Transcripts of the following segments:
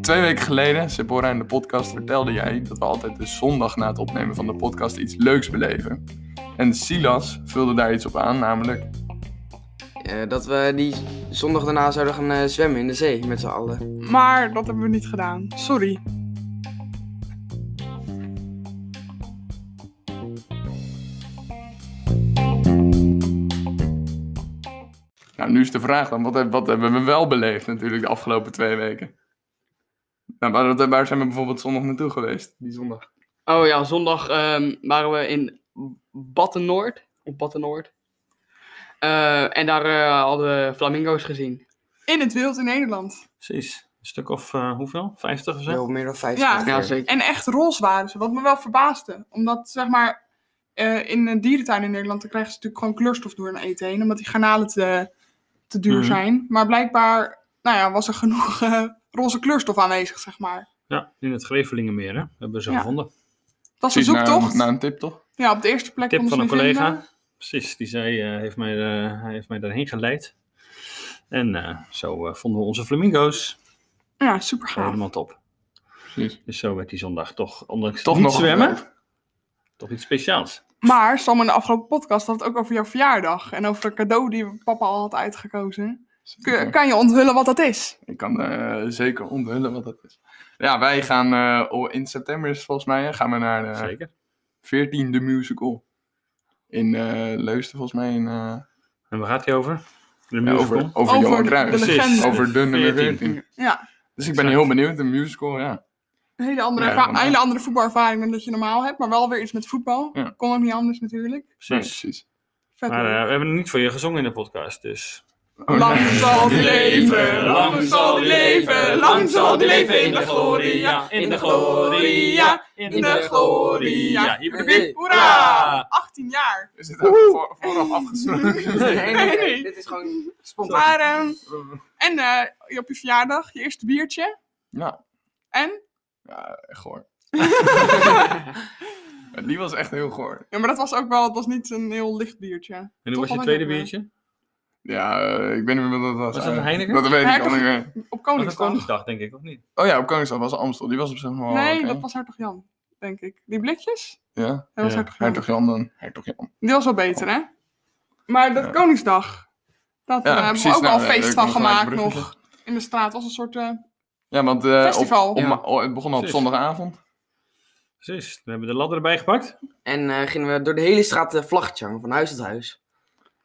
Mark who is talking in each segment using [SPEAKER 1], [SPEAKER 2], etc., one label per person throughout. [SPEAKER 1] Twee weken geleden, Sephora in de podcast, vertelde jij dat we altijd de zondag na het opnemen van de podcast iets leuks beleven. En Silas vulde daar iets op aan, namelijk
[SPEAKER 2] Eh, dat we die zondag daarna zouden gaan eh, zwemmen in de zee met z'n allen.
[SPEAKER 3] Maar dat hebben we niet gedaan. Sorry.
[SPEAKER 1] Nou, nu is de vraag dan, wat, heb- wat hebben we wel beleefd natuurlijk de afgelopen twee weken? Nou, waar, wat- waar zijn we bijvoorbeeld zondag naartoe geweest, die zondag?
[SPEAKER 4] Oh ja, zondag ehm, waren we in Battenoord. Op Battenoord. Eh, en daar eh, hadden we flamingo's gezien.
[SPEAKER 3] In het wild in Nederland.
[SPEAKER 5] Precies. Een stuk of eh, hoeveel? 50 of zo?
[SPEAKER 2] Wel meer dan 50
[SPEAKER 3] Ja.
[SPEAKER 2] ongeveer.
[SPEAKER 4] Ja, zeker.
[SPEAKER 3] En echt roze waren ze, wat me wel verbaasde. Omdat, zeg maar, eh, in een dierentuin in Nederland, dan krijgen ze natuurlijk gewoon kleurstof door hun eten heen. Omdat die garnalen te, te duur
[SPEAKER 5] Mhm.
[SPEAKER 3] zijn. Maar blijkbaar, nou ja, was er genoeg eh, roze kleurstof aanwezig, zeg maar.
[SPEAKER 5] Ja, in het Grevelingenmeer, hè? Hebben we ze
[SPEAKER 3] Ja.
[SPEAKER 5] gevonden.
[SPEAKER 3] Het was een
[SPEAKER 1] Precies, naar-
[SPEAKER 3] zoektocht.
[SPEAKER 1] Naar een tip, toch?
[SPEAKER 3] Ja, op de eerste plek
[SPEAKER 5] nou, Tip
[SPEAKER 3] konden
[SPEAKER 5] van een
[SPEAKER 3] ze me
[SPEAKER 5] collega.
[SPEAKER 3] vinden.
[SPEAKER 5] Precies, die zei, eh, heeft mij, eh, hij heeft mij daarheen geleid. En eh, zo eh, vonden we onze flamingo's.
[SPEAKER 3] Ja, super gaaf.
[SPEAKER 5] Helemaal top.
[SPEAKER 1] Precies.
[SPEAKER 5] Dus zo werd die zondag toch, ondanks
[SPEAKER 1] Toch
[SPEAKER 5] niet
[SPEAKER 1] nog
[SPEAKER 5] zwemmen,
[SPEAKER 1] gebleven.
[SPEAKER 5] toch iets speciaals.
[SPEAKER 3] Maar Sam in de afgelopen podcast had het ook over jouw verjaardag. En over een cadeau die papa al had uitgekozen. Kun- kan je onthullen wat dat is?
[SPEAKER 1] Ik kan eh, zeker onthullen wat dat is. Ja, wij gaan eh, oh, in september is het volgens mij, hè, gaan we naar eh, de
[SPEAKER 5] Zeker.
[SPEAKER 1] 14e musical. In eh Leusden volgens mij. In, eh,
[SPEAKER 5] En waar gaat hij over? De
[SPEAKER 1] ja,
[SPEAKER 5] musical.
[SPEAKER 1] over, over,
[SPEAKER 3] Over
[SPEAKER 1] Johan
[SPEAKER 3] de-
[SPEAKER 1] Cruijff.
[SPEAKER 3] de legende.
[SPEAKER 1] Over de nummer
[SPEAKER 5] 14.
[SPEAKER 1] 14.
[SPEAKER 3] Ja,
[SPEAKER 1] Dus ik ben heel benieuwd, een musical, ja.
[SPEAKER 3] een hele andere,
[SPEAKER 1] Ja,
[SPEAKER 3] erva-
[SPEAKER 1] maar-
[SPEAKER 3] hele andere voetbalervaring dan dat je normaal hebt. Maar wel weer iets met voetbal.
[SPEAKER 1] Ja.
[SPEAKER 3] Kon ook niet anders natuurlijk.
[SPEAKER 1] Nee,
[SPEAKER 5] Precies.
[SPEAKER 1] precies.
[SPEAKER 3] Vet
[SPEAKER 5] Maar
[SPEAKER 3] leuk.
[SPEAKER 5] eh, we hebben er niet voor je gezongen in de podcast, dus...
[SPEAKER 1] Oh,
[SPEAKER 3] eh, Lang
[SPEAKER 1] nee.
[SPEAKER 3] zal die leven, lang zal die leven, lang zal die leven in de gloria, in de gloria, in de gloria.
[SPEAKER 5] Ja, hier ben ik.
[SPEAKER 2] Nee,
[SPEAKER 3] Hoera! 18 jaar.
[SPEAKER 1] Is dit ook voor, vooraf afgesproken?
[SPEAKER 2] nee, nee, nee,
[SPEAKER 3] Nee, nee.
[SPEAKER 2] Dit is gewoon spontaan.
[SPEAKER 3] Maar, ehm, en eh, op je verjaardag, je eerste biertje.
[SPEAKER 1] ja,
[SPEAKER 3] En?
[SPEAKER 1] ja, echt goor. Maar Die was echt heel goor.
[SPEAKER 3] Ja, maar dat was ook wel, het was niet een heel licht biertje.
[SPEAKER 5] En
[SPEAKER 3] Toch
[SPEAKER 5] hoe was je
[SPEAKER 3] wel
[SPEAKER 5] tweede
[SPEAKER 3] lekker.
[SPEAKER 5] biertje?
[SPEAKER 1] Ja, eh, ik weet niet meer wat dat was.
[SPEAKER 5] Was dat een
[SPEAKER 1] Eh,
[SPEAKER 5] Heineken?
[SPEAKER 1] Dat weet ik
[SPEAKER 3] Heineken?
[SPEAKER 1] al niet meer.
[SPEAKER 3] Op
[SPEAKER 5] Dat was
[SPEAKER 3] Koningsdag.
[SPEAKER 5] Koningsdag, denk ik, of niet?
[SPEAKER 1] Oh ja, op Koningsdag was Amstel. Die was op zich nog wel
[SPEAKER 3] nee,
[SPEAKER 1] oké.
[SPEAKER 3] dat was Hertog Jan, denk ik. Die blikjes?
[SPEAKER 1] Ja,
[SPEAKER 3] Dat was
[SPEAKER 5] Ja,
[SPEAKER 3] Hertog Jan.
[SPEAKER 1] Hertog Jan dan. Hertog Jan.
[SPEAKER 3] Die was wel beter, hè? Maar dat Koningsdag, dat
[SPEAKER 1] Ja,
[SPEAKER 3] eh, hebben we
[SPEAKER 1] precies.
[SPEAKER 3] ook wel
[SPEAKER 1] Nou,
[SPEAKER 3] een
[SPEAKER 1] eh,
[SPEAKER 3] feest
[SPEAKER 1] ik
[SPEAKER 3] van
[SPEAKER 1] kon gelijk
[SPEAKER 3] gemaakt
[SPEAKER 1] bruggetje.
[SPEAKER 3] nog. In de straat was een soort... eh,
[SPEAKER 1] Ja, want eh, op-
[SPEAKER 3] Festival.
[SPEAKER 1] op,
[SPEAKER 2] Ja.
[SPEAKER 1] ma- oh, het begon al op
[SPEAKER 5] Precies.
[SPEAKER 1] zondagavond.
[SPEAKER 5] Precies, we hebben de ladder erbij gepakt.
[SPEAKER 2] En eh, gingen we door de hele straat de vlaggetjes hangen, van huis tot huis.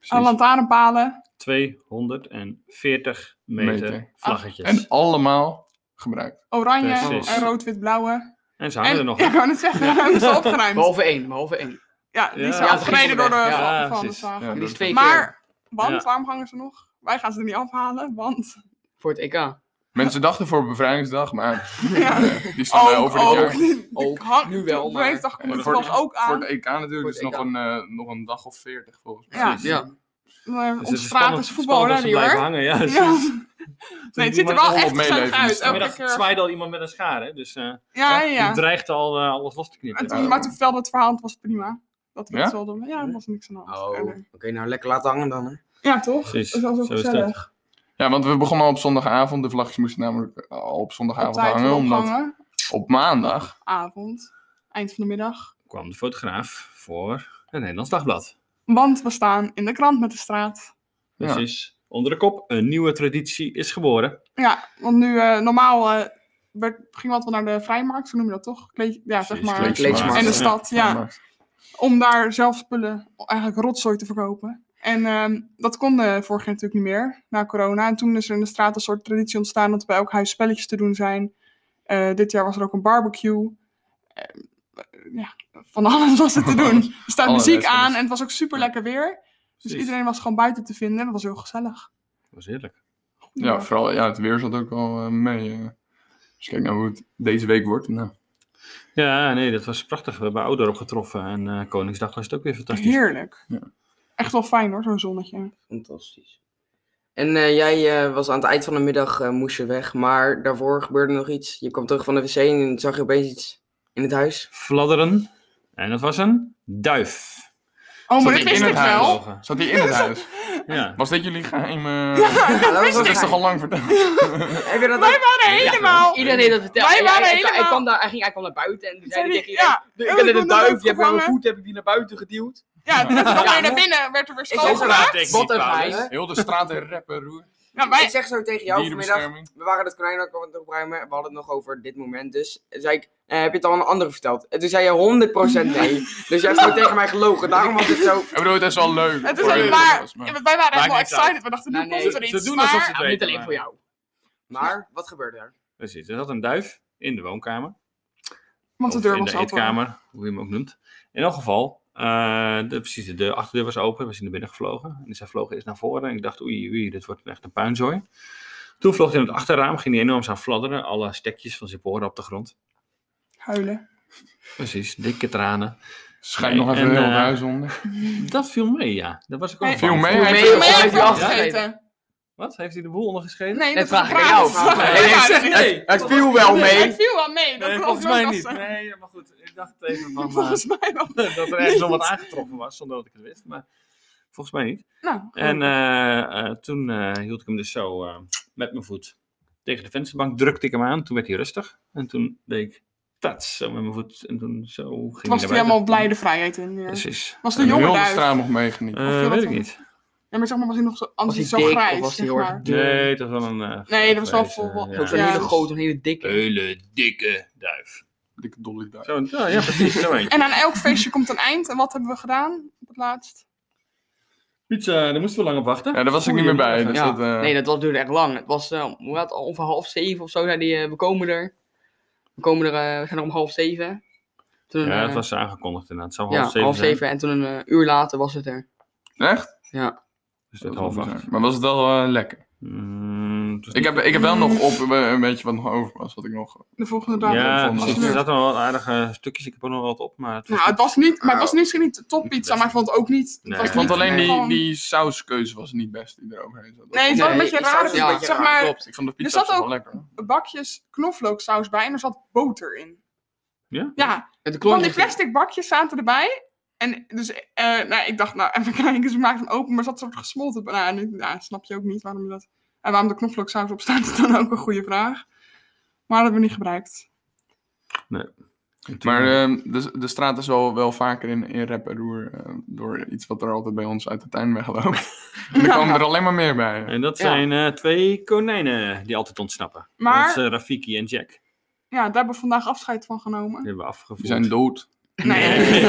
[SPEAKER 3] aan lantaarnpalen.
[SPEAKER 5] 240 meter,
[SPEAKER 1] Meter.
[SPEAKER 5] vlaggetjes.
[SPEAKER 1] En
[SPEAKER 5] En,
[SPEAKER 1] allemaal gebruikt.
[SPEAKER 3] Oranje
[SPEAKER 5] Precies.
[SPEAKER 3] en rood-wit-blauwe.
[SPEAKER 5] ze hangen
[SPEAKER 3] En-
[SPEAKER 5] er nog.
[SPEAKER 3] Ja,
[SPEAKER 5] hè?
[SPEAKER 3] ik wou net zeggen, we hebben ze opgeruimd.
[SPEAKER 4] Behalve één, behalve één.
[SPEAKER 3] Ja, die
[SPEAKER 5] Ja,
[SPEAKER 3] zijn
[SPEAKER 4] ja,
[SPEAKER 3] afgereden door de
[SPEAKER 4] ja,
[SPEAKER 3] ja,
[SPEAKER 5] precies.
[SPEAKER 1] Ja, dus
[SPEAKER 4] Die
[SPEAKER 1] dat-
[SPEAKER 4] is twee keer
[SPEAKER 3] Maar, want,
[SPEAKER 5] Ja.
[SPEAKER 3] waarom hangen ze nog? Wij gaan ze er niet afhalen, want...
[SPEAKER 4] voor het EK.
[SPEAKER 1] Mensen dachten voor bevrijdingsdag, maar
[SPEAKER 3] Ja.
[SPEAKER 1] eh, die staan wij
[SPEAKER 3] ook,
[SPEAKER 1] over het
[SPEAKER 3] ook,
[SPEAKER 1] jaar.
[SPEAKER 3] die- die
[SPEAKER 4] Ook,
[SPEAKER 3] hang-
[SPEAKER 4] nu wel,
[SPEAKER 3] op
[SPEAKER 4] maar-
[SPEAKER 3] Woensdag
[SPEAKER 1] En
[SPEAKER 3] komt
[SPEAKER 5] Oh,
[SPEAKER 3] het
[SPEAKER 1] voor
[SPEAKER 3] toch
[SPEAKER 1] de-
[SPEAKER 3] ook
[SPEAKER 1] Voor
[SPEAKER 3] aan.
[SPEAKER 1] het EK natuurlijk
[SPEAKER 2] Voor
[SPEAKER 1] is
[SPEAKER 2] het
[SPEAKER 1] nog
[SPEAKER 2] EK.
[SPEAKER 1] een, eh, nog een dag of veertig volgens mij.
[SPEAKER 3] Ja,
[SPEAKER 4] Ja.
[SPEAKER 3] maar
[SPEAKER 5] Dus
[SPEAKER 3] op
[SPEAKER 5] het is
[SPEAKER 3] straat
[SPEAKER 5] spannend-
[SPEAKER 3] is voetbal, hè,
[SPEAKER 5] spannend als ze
[SPEAKER 3] die
[SPEAKER 5] blijven
[SPEAKER 3] hoor.
[SPEAKER 5] hangen, ja.
[SPEAKER 3] Ja. Nee, het ziet er wel
[SPEAKER 1] honderd
[SPEAKER 3] echt gezellig
[SPEAKER 1] meelevens
[SPEAKER 3] uit.
[SPEAKER 1] staan.
[SPEAKER 3] Elke
[SPEAKER 5] Vanmiddag
[SPEAKER 3] keer.
[SPEAKER 5] zwaaide al iemand met een schaar, hè? Dus eh
[SPEAKER 3] Ja, ja, ja.
[SPEAKER 5] die dreigt al eh, alles los te knippen.
[SPEAKER 3] En toen, maar toen vertelde het verhaal, het was prima. Dat we
[SPEAKER 1] Ja?
[SPEAKER 3] het zouden... Ja, er was niks aan de hand.
[SPEAKER 2] Oh, oké,
[SPEAKER 3] Verder.
[SPEAKER 2] nou lekker laten hangen dan. Hè.
[SPEAKER 3] Ja, toch? Dat
[SPEAKER 5] Precies,
[SPEAKER 3] is wel zo
[SPEAKER 5] zo is
[SPEAKER 3] gezellig.
[SPEAKER 1] Ja, want we begonnen al op zondagavond. De vlagjes moesten namelijk eh, al op
[SPEAKER 3] Op
[SPEAKER 1] zondagavond
[SPEAKER 3] tijd
[SPEAKER 1] hangen. Omdat
[SPEAKER 3] ophangen.
[SPEAKER 1] op maandag
[SPEAKER 3] Avond. Eind van de middag.
[SPEAKER 5] kwam de fotograaf voor het Nederlands Dagblad.
[SPEAKER 3] Want we staan in de krant met de straat.
[SPEAKER 1] Ja.
[SPEAKER 5] Precies. Dus Onder de kop, een nieuwe traditie is geboren.
[SPEAKER 3] Ja, want nu eh, normaal eh, werd, ging wat wel naar de vrijmarkt, zo noem je dat toch? Kleed, ja, zeg
[SPEAKER 5] Precies,
[SPEAKER 3] maar.
[SPEAKER 1] kleedjes
[SPEAKER 2] Kleedjes
[SPEAKER 1] maken.
[SPEAKER 3] En de
[SPEAKER 2] Ja,
[SPEAKER 3] stad, ja. Om daar zelf spullen, eigenlijk rotzooi te verkopen. En ehm, dat kon eh, vorig jaar natuurlijk niet meer, na corona. En toen is er in de straat een soort traditie ontstaan dat bij elk huis spelletjes te doen zijn. Eh, dit jaar was er ook een barbecue. Eh, ja, van alles was er te doen. Er staat
[SPEAKER 1] Allerlei
[SPEAKER 3] muziek
[SPEAKER 1] spelletjes.
[SPEAKER 3] aan en het was ook super lekker weer. Dus
[SPEAKER 5] Precies.
[SPEAKER 3] iedereen was gewoon buiten te vinden en dat was heel gezellig.
[SPEAKER 5] Dat was heerlijk.
[SPEAKER 1] Ja, vooral ja, het weer zat ook wel eh, mee. eh. Dus kijk nou hoe het deze week wordt. Nou,
[SPEAKER 5] Ja, nee, dat was prachtig. We hebben Oudorp getroffen en eh, Koningsdag was het ook weer fantastisch.
[SPEAKER 3] Heerlijk.
[SPEAKER 1] Ja.
[SPEAKER 3] Echt wel fijn hoor, zo'n zonnetje. Oh,
[SPEAKER 2] Fantastisch. En eh, jij eh, was aan het eind van de middag, eh, moest je weg, maar daarvoor gebeurde nog iets. Je kwam terug van de wc en zag je opeens iets in het huis.
[SPEAKER 5] Fladderen. En dat was een duif.
[SPEAKER 3] Oh, maar
[SPEAKER 1] Zat
[SPEAKER 3] dit
[SPEAKER 1] hij
[SPEAKER 3] wist
[SPEAKER 1] in
[SPEAKER 3] ik
[SPEAKER 1] het huis?
[SPEAKER 3] wel.
[SPEAKER 1] Zat hij in het huis?
[SPEAKER 5] Ja.
[SPEAKER 1] Was dit jullie geheim? eh,
[SPEAKER 2] Ja, dat was
[SPEAKER 1] Dat
[SPEAKER 2] wel
[SPEAKER 1] is toch al
[SPEAKER 2] geheim.
[SPEAKER 1] lang verteld?
[SPEAKER 2] Heb je dat
[SPEAKER 3] Wij
[SPEAKER 2] ook?
[SPEAKER 3] waren helemaal...
[SPEAKER 4] Iedereen deed dat vertelde.
[SPEAKER 3] Wij
[SPEAKER 4] En
[SPEAKER 3] waren
[SPEAKER 4] hij, hij, hij,
[SPEAKER 3] helemaal-
[SPEAKER 4] kwam daar, hij, ging, hij kwam naar buiten en toen zei
[SPEAKER 3] Zei
[SPEAKER 4] hij
[SPEAKER 3] die-
[SPEAKER 4] tegen iedereen,
[SPEAKER 3] ja,
[SPEAKER 4] "De-
[SPEAKER 3] oh,
[SPEAKER 4] ik ben
[SPEAKER 3] ik
[SPEAKER 4] een
[SPEAKER 3] ben er
[SPEAKER 4] duif, je hebt
[SPEAKER 3] opgevangen."
[SPEAKER 4] mijn voet, heb ik die naar buiten geduwd.
[SPEAKER 3] Ja, toen kwam
[SPEAKER 4] Ja,
[SPEAKER 3] hij naar
[SPEAKER 4] hoor.
[SPEAKER 3] binnen, werd er weer
[SPEAKER 2] Ik zeg zo
[SPEAKER 3] schoongemaakt.
[SPEAKER 5] Techniek,
[SPEAKER 4] Wat een
[SPEAKER 5] Paulus.
[SPEAKER 4] geheim.
[SPEAKER 1] Heel de straat in rep en roer.
[SPEAKER 3] Ja, wij,
[SPEAKER 2] Ik zeg zo tegen jou vanmiddag.
[SPEAKER 1] Dierenbescherming.
[SPEAKER 2] We waren dat konijn ook aan het opruimen. We hadden het nog over dit moment. Dus zei ik, eh, heb je het al aan een andere verteld? En toen zei je 100% nee. dus jij hebt gewoon tegen mij gelogen. Daarom was het zo.
[SPEAKER 1] Ik bedoel, het is wel leuk.
[SPEAKER 3] het is
[SPEAKER 1] voor
[SPEAKER 3] een
[SPEAKER 1] jullie
[SPEAKER 3] maar,
[SPEAKER 1] jongens, maar-
[SPEAKER 3] wij waren helemaal
[SPEAKER 5] niks
[SPEAKER 3] excited. We dachten, nu
[SPEAKER 4] Nou, nee,
[SPEAKER 3] komt er
[SPEAKER 5] ze-
[SPEAKER 3] iets.
[SPEAKER 5] ze doen
[SPEAKER 3] maar...
[SPEAKER 5] alsof ze-
[SPEAKER 4] Nou, niet alleen voor jou.
[SPEAKER 2] Maar wat gebeurde er?
[SPEAKER 5] Precies, er zat een duif in de woonkamer.
[SPEAKER 3] Want de
[SPEAKER 5] Of
[SPEAKER 3] deur
[SPEAKER 5] in
[SPEAKER 3] was
[SPEAKER 5] de
[SPEAKER 3] open.
[SPEAKER 5] eetkamer, hoe je hem ook noemt. In elk geval, eh, de, precies, de deur- achterdeur was open, we zijn naar binnen gevlogen. En zij vlogen eerst naar voren en ik dacht, oei, oei, dit wordt echt een puinzooi. Toen vloog hij in het achterraam, ging hij enorm aan fladderen, alle stekjes van zijn poren op de grond.
[SPEAKER 3] Huilen.
[SPEAKER 5] Precies, dikke tranen.
[SPEAKER 1] Schijn
[SPEAKER 5] Nee,
[SPEAKER 1] nog even
[SPEAKER 5] en,
[SPEAKER 1] heel het
[SPEAKER 5] eh,
[SPEAKER 1] huis onder.
[SPEAKER 5] Dat viel mee, ja. Dat was ik ook
[SPEAKER 3] Nee,
[SPEAKER 5] bang
[SPEAKER 1] viel
[SPEAKER 5] voor.
[SPEAKER 1] mee?
[SPEAKER 3] Maar
[SPEAKER 4] mee, Of
[SPEAKER 3] jij
[SPEAKER 4] heeft
[SPEAKER 3] hebt
[SPEAKER 4] hij
[SPEAKER 3] afgegeten.
[SPEAKER 5] Wat? Heeft hij de boel ondergeschreven?
[SPEAKER 3] Nee,
[SPEAKER 4] Dat
[SPEAKER 3] dat was
[SPEAKER 4] vraag ik aan jou.
[SPEAKER 3] gratis.
[SPEAKER 4] Nee,
[SPEAKER 3] Wij
[SPEAKER 4] nee,
[SPEAKER 3] waren
[SPEAKER 5] zeg
[SPEAKER 3] niet-
[SPEAKER 5] nee.
[SPEAKER 2] Het viel wel
[SPEAKER 3] Het
[SPEAKER 2] mee.
[SPEAKER 3] viel wel mee, dat
[SPEAKER 5] Nee,
[SPEAKER 3] klopt.
[SPEAKER 5] volgens
[SPEAKER 3] wel,
[SPEAKER 5] mij
[SPEAKER 3] dat
[SPEAKER 5] niet.
[SPEAKER 3] ze-
[SPEAKER 5] Nee, maar goed, ik dacht even van... eh,
[SPEAKER 3] Volgens mij wel.
[SPEAKER 5] dat er ergens nog wat
[SPEAKER 3] Niet.
[SPEAKER 5] aangetroffen was, zonder dat ik het wist. Maar volgens mij niet.
[SPEAKER 3] Nou,
[SPEAKER 5] En eh, eh, toen eh, hield ik hem dus zo eh, met mijn voet tegen de vensterbank, drukte ik hem aan. Toen werd hij rustig. En toen deed ik tats zo met mijn voet. En toen zo ging
[SPEAKER 3] toen was
[SPEAKER 5] hij
[SPEAKER 3] hij
[SPEAKER 5] naar
[SPEAKER 3] helemaal
[SPEAKER 5] buiten.
[SPEAKER 3] blij de vrijheid in. ja.
[SPEAKER 5] Precies.
[SPEAKER 3] Was de
[SPEAKER 1] Heel
[SPEAKER 3] jonge
[SPEAKER 1] de
[SPEAKER 3] duif.
[SPEAKER 1] straat nog meegenieten.
[SPEAKER 5] Eh,
[SPEAKER 3] viel dat
[SPEAKER 5] weet ik
[SPEAKER 3] dan?
[SPEAKER 5] niet.
[SPEAKER 3] Ja, maar zeg maar, was hij nog zo, anders
[SPEAKER 4] Was
[SPEAKER 3] was zo
[SPEAKER 4] hij dik of
[SPEAKER 3] grijs,
[SPEAKER 4] was hij
[SPEAKER 3] zeg
[SPEAKER 4] heel erg
[SPEAKER 3] maar.
[SPEAKER 4] dun?
[SPEAKER 5] Nee, het was wel een... eh,
[SPEAKER 3] Nee, dat was wel
[SPEAKER 5] grijze,
[SPEAKER 3] vol-
[SPEAKER 5] ja.
[SPEAKER 4] Ook Zo'n
[SPEAKER 3] Ja.
[SPEAKER 4] hele grote, een hele dikke.
[SPEAKER 5] Hele dikke duif.
[SPEAKER 1] Dikke dolly daar.
[SPEAKER 5] Zo, ja, ja, precies. Zo eentje.
[SPEAKER 3] En aan elk feestje komt een eind. En wat hebben we gedaan op het laatst?
[SPEAKER 5] Pizza, daar moesten we lang op wachten.
[SPEAKER 1] Ja, daar was ik niet meer bij. Dus
[SPEAKER 4] Ja.
[SPEAKER 1] dat, eh,
[SPEAKER 4] Nee, dat was, duurde echt lang. Het was eh, hoe laat, om van half zeven of zo. Zei die, eh, we komen er. We, komen er eh, we zijn er om half zeven. Toen,
[SPEAKER 5] Ja,
[SPEAKER 4] eh,
[SPEAKER 5] het was aangekondigd inderdaad. Het zou
[SPEAKER 4] ja,
[SPEAKER 5] half zeven zijn.
[SPEAKER 4] En toen een eh, uur later was het er.
[SPEAKER 1] Echt?
[SPEAKER 5] Dus het werd half acht.
[SPEAKER 1] Maar was het wel eh, lekker?
[SPEAKER 5] Mm, het was
[SPEAKER 1] Ik
[SPEAKER 5] niet-
[SPEAKER 1] heb, ik heb wel
[SPEAKER 3] Mm.
[SPEAKER 1] nog op eh, een beetje wat nog over was. Wat ik nog...
[SPEAKER 3] De volgende dag.
[SPEAKER 5] Ja,
[SPEAKER 1] vond het
[SPEAKER 5] precies.
[SPEAKER 3] wel
[SPEAKER 5] Er
[SPEAKER 3] leuk.
[SPEAKER 5] zaten wel wat aardige stukjes. Ik heb er nog wat op, maar het was
[SPEAKER 3] Nou, het was niet, maar het was
[SPEAKER 2] Oh.
[SPEAKER 3] misschien niet toppizza,
[SPEAKER 5] Best.
[SPEAKER 3] maar ik vond het ook niet... het
[SPEAKER 5] Nee.
[SPEAKER 3] was
[SPEAKER 1] Ik vond
[SPEAKER 3] niet
[SPEAKER 1] alleen die,
[SPEAKER 3] gewoon-
[SPEAKER 1] die sauskeuze was niet best die eroverheen zat.
[SPEAKER 3] Nee, het was een
[SPEAKER 2] Nee,
[SPEAKER 3] beetje
[SPEAKER 2] die saus
[SPEAKER 3] raar.
[SPEAKER 2] is een
[SPEAKER 3] Ja,
[SPEAKER 2] beetje
[SPEAKER 3] zeg
[SPEAKER 2] raar,
[SPEAKER 3] maar,
[SPEAKER 1] Ik vond de
[SPEAKER 3] Er
[SPEAKER 1] pizza
[SPEAKER 3] zat
[SPEAKER 1] op zich
[SPEAKER 3] ook-
[SPEAKER 1] wel lekker.
[SPEAKER 3] bakjes knoflooksaus bij en er zat boter in.
[SPEAKER 5] Ja?
[SPEAKER 3] Ja,
[SPEAKER 4] Het
[SPEAKER 3] van
[SPEAKER 4] klontje
[SPEAKER 3] die
[SPEAKER 4] was-
[SPEAKER 3] plastic bakjes zaten erbij. En dus, eh, nou, ik dacht, nou, even kijken. Dus ik maakte hem open, maar er zat een soort gesmolten banaan in. Nou, snap je ook niet waarom dat... En waarom de knoflooksaus op staat, is dan ook een goede vraag. Maar dat hebben we niet gebruikt.
[SPEAKER 1] Maar eh, de, de straat is wel, wel vaker in, in rep en roer eh, door iets wat er altijd bij ons uit de tuin wegloopt. en er komen er alleen maar meer bij.
[SPEAKER 5] En dat
[SPEAKER 4] Ja.
[SPEAKER 5] zijn eh, twee konijnen die altijd ontsnappen.
[SPEAKER 3] Maar-
[SPEAKER 5] Dat is eh, Rafiki en Jack. Die
[SPEAKER 3] Ja, daar hebben we vandaag afscheid van genomen.
[SPEAKER 5] hebben we
[SPEAKER 1] Die
[SPEAKER 5] afgevoerd.
[SPEAKER 1] zijn dood.
[SPEAKER 3] Nee.
[SPEAKER 1] Oh.
[SPEAKER 3] Die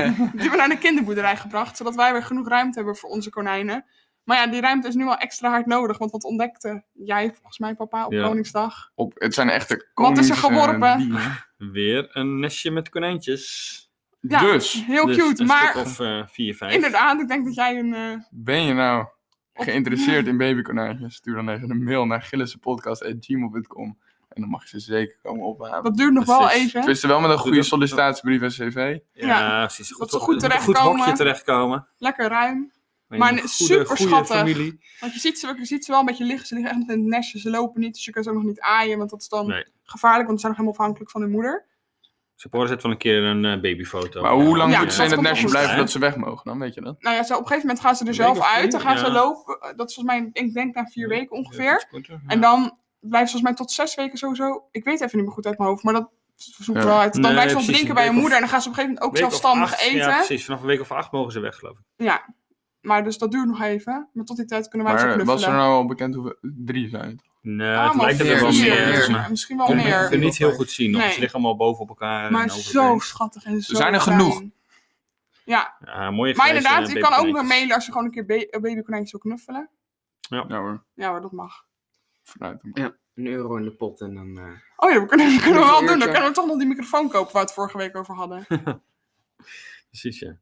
[SPEAKER 3] hebben we naar de kinderboerderij gebracht, zodat wij weer genoeg ruimte hebben voor onze konijnen. Maar ja, die ruimte is nu al extra hard nodig, want wat ontdekte jij volgens mij, papa, op
[SPEAKER 5] Ja.
[SPEAKER 3] Koningsdag?
[SPEAKER 1] Op, het zijn echte
[SPEAKER 3] Wat is er
[SPEAKER 1] konings, eh,
[SPEAKER 3] geworpen?
[SPEAKER 1] dieren.
[SPEAKER 5] Weer een nestje met konijntjes.
[SPEAKER 3] Ja.
[SPEAKER 1] Dus,
[SPEAKER 3] Heel
[SPEAKER 5] Dus
[SPEAKER 3] cute,
[SPEAKER 5] een
[SPEAKER 3] maar
[SPEAKER 5] stuk of eh, vier, vijf.
[SPEAKER 3] inderdaad, ik denk dat jij een... eh,
[SPEAKER 1] ben je nou geïnteresseerd in babykonijntjes? Stuur dan even een mail naar gillissenpodcast.gmail.com en dan mag je ze zeker komen ophalen.
[SPEAKER 3] dat duurt nog wel
[SPEAKER 5] Precies. Dus-
[SPEAKER 3] even.
[SPEAKER 1] Tenminste wel met een goede
[SPEAKER 5] dat-
[SPEAKER 1] sollicitatiebrief en cv.
[SPEAKER 5] Ja,
[SPEAKER 3] ja.
[SPEAKER 5] precies.
[SPEAKER 3] ze goed
[SPEAKER 5] Goed
[SPEAKER 3] terechtkomen.
[SPEAKER 5] hokje terechtkomen.
[SPEAKER 3] Lekker ruim.
[SPEAKER 5] Bij
[SPEAKER 3] Maar
[SPEAKER 5] een
[SPEAKER 3] een superschattig.
[SPEAKER 5] familie.
[SPEAKER 3] Want je ziet ze, je ziet ze wel een beetje liggen. Ze liggen echt nog in het nestje. Ze lopen niet, dus je kan ze ook nog niet aaien. Want dat is dan
[SPEAKER 5] Nee.
[SPEAKER 3] gevaarlijk, want ze zijn nog helemaal afhankelijk van hun moeder.
[SPEAKER 5] Sapora zet van een keer een eh, babyfoto.
[SPEAKER 1] Maar hoe lang
[SPEAKER 3] Ja,
[SPEAKER 1] moeten ze in
[SPEAKER 3] dat
[SPEAKER 1] het
[SPEAKER 3] komt
[SPEAKER 1] nestje
[SPEAKER 3] wel goed,
[SPEAKER 1] blijven
[SPEAKER 5] hè?
[SPEAKER 1] dat ze weg mogen? Dan weet je dat.
[SPEAKER 3] Nou ja, ze, op een gegeven moment gaan ze er
[SPEAKER 5] Een
[SPEAKER 3] zelf
[SPEAKER 5] week of
[SPEAKER 3] uit.
[SPEAKER 5] vier,
[SPEAKER 3] Dan gaan ze
[SPEAKER 5] ja.
[SPEAKER 3] lopen. Eh, Dat is volgens mij, ik denk, na vier weken ongeveer.
[SPEAKER 5] korter,
[SPEAKER 3] En
[SPEAKER 5] ja.
[SPEAKER 3] dan blijft volgens mij tot zes weken sowieso. Ik weet even niet meer goed uit mijn hoofd, maar dat zoek
[SPEAKER 1] Ja.
[SPEAKER 3] wel uit. Dan
[SPEAKER 5] Nee,
[SPEAKER 3] blijft ze nog
[SPEAKER 5] precies,
[SPEAKER 3] drinken
[SPEAKER 5] een
[SPEAKER 3] bij
[SPEAKER 5] week
[SPEAKER 3] hun
[SPEAKER 5] of-
[SPEAKER 3] moeder en dan gaan ze op een gegeven moment
[SPEAKER 5] Week
[SPEAKER 3] ook
[SPEAKER 5] of
[SPEAKER 3] zelfstandig
[SPEAKER 5] acht,
[SPEAKER 3] eten.
[SPEAKER 5] Ja,
[SPEAKER 3] Ja,
[SPEAKER 5] precies. Vanaf een week of acht mogen ze weg, geloof ik.
[SPEAKER 3] maar dus dat duurt nog even. Maar tot die tijd kunnen wij ze
[SPEAKER 1] Maar was er
[SPEAKER 3] knuffelen.
[SPEAKER 1] nou al bekend hoeveel? Drie zijn het.
[SPEAKER 5] Nee,
[SPEAKER 3] Ah,
[SPEAKER 5] het
[SPEAKER 3] maar
[SPEAKER 5] lijkt er wel
[SPEAKER 3] vier,
[SPEAKER 5] meer.
[SPEAKER 4] meer.
[SPEAKER 5] maar-
[SPEAKER 3] Misschien wel
[SPEAKER 5] Ik
[SPEAKER 4] Kom
[SPEAKER 3] meer.
[SPEAKER 5] kan het niet heel goed zien. nog.
[SPEAKER 3] Nee.
[SPEAKER 5] Ze liggen allemaal boven op elkaar. en
[SPEAKER 3] Maar
[SPEAKER 5] overheen.
[SPEAKER 3] zo schattig en zo.
[SPEAKER 1] zijn er
[SPEAKER 3] klein.
[SPEAKER 1] genoeg.
[SPEAKER 3] Ja,
[SPEAKER 5] Ja, mooie eh,
[SPEAKER 3] maar
[SPEAKER 5] grijze
[SPEAKER 3] inderdaad, je kan ook nog
[SPEAKER 5] babykonijntjes.
[SPEAKER 3] mailen als je gewoon een keer ba- een babykonijntje wil knuffelen.
[SPEAKER 1] Ja hoor,
[SPEAKER 3] Ja hoor, dat mag.
[SPEAKER 1] vanuit hem.
[SPEAKER 2] Een euro in de pot en dan. eh,
[SPEAKER 3] Oh ja, dat kunnen, dat kunnen we
[SPEAKER 2] Nog een
[SPEAKER 3] wel doen. Dan
[SPEAKER 2] uurtje.
[SPEAKER 3] kunnen we toch nog die microfoon kopen waar we het vorige week over hadden.
[SPEAKER 5] Precies, ja.
[SPEAKER 2] een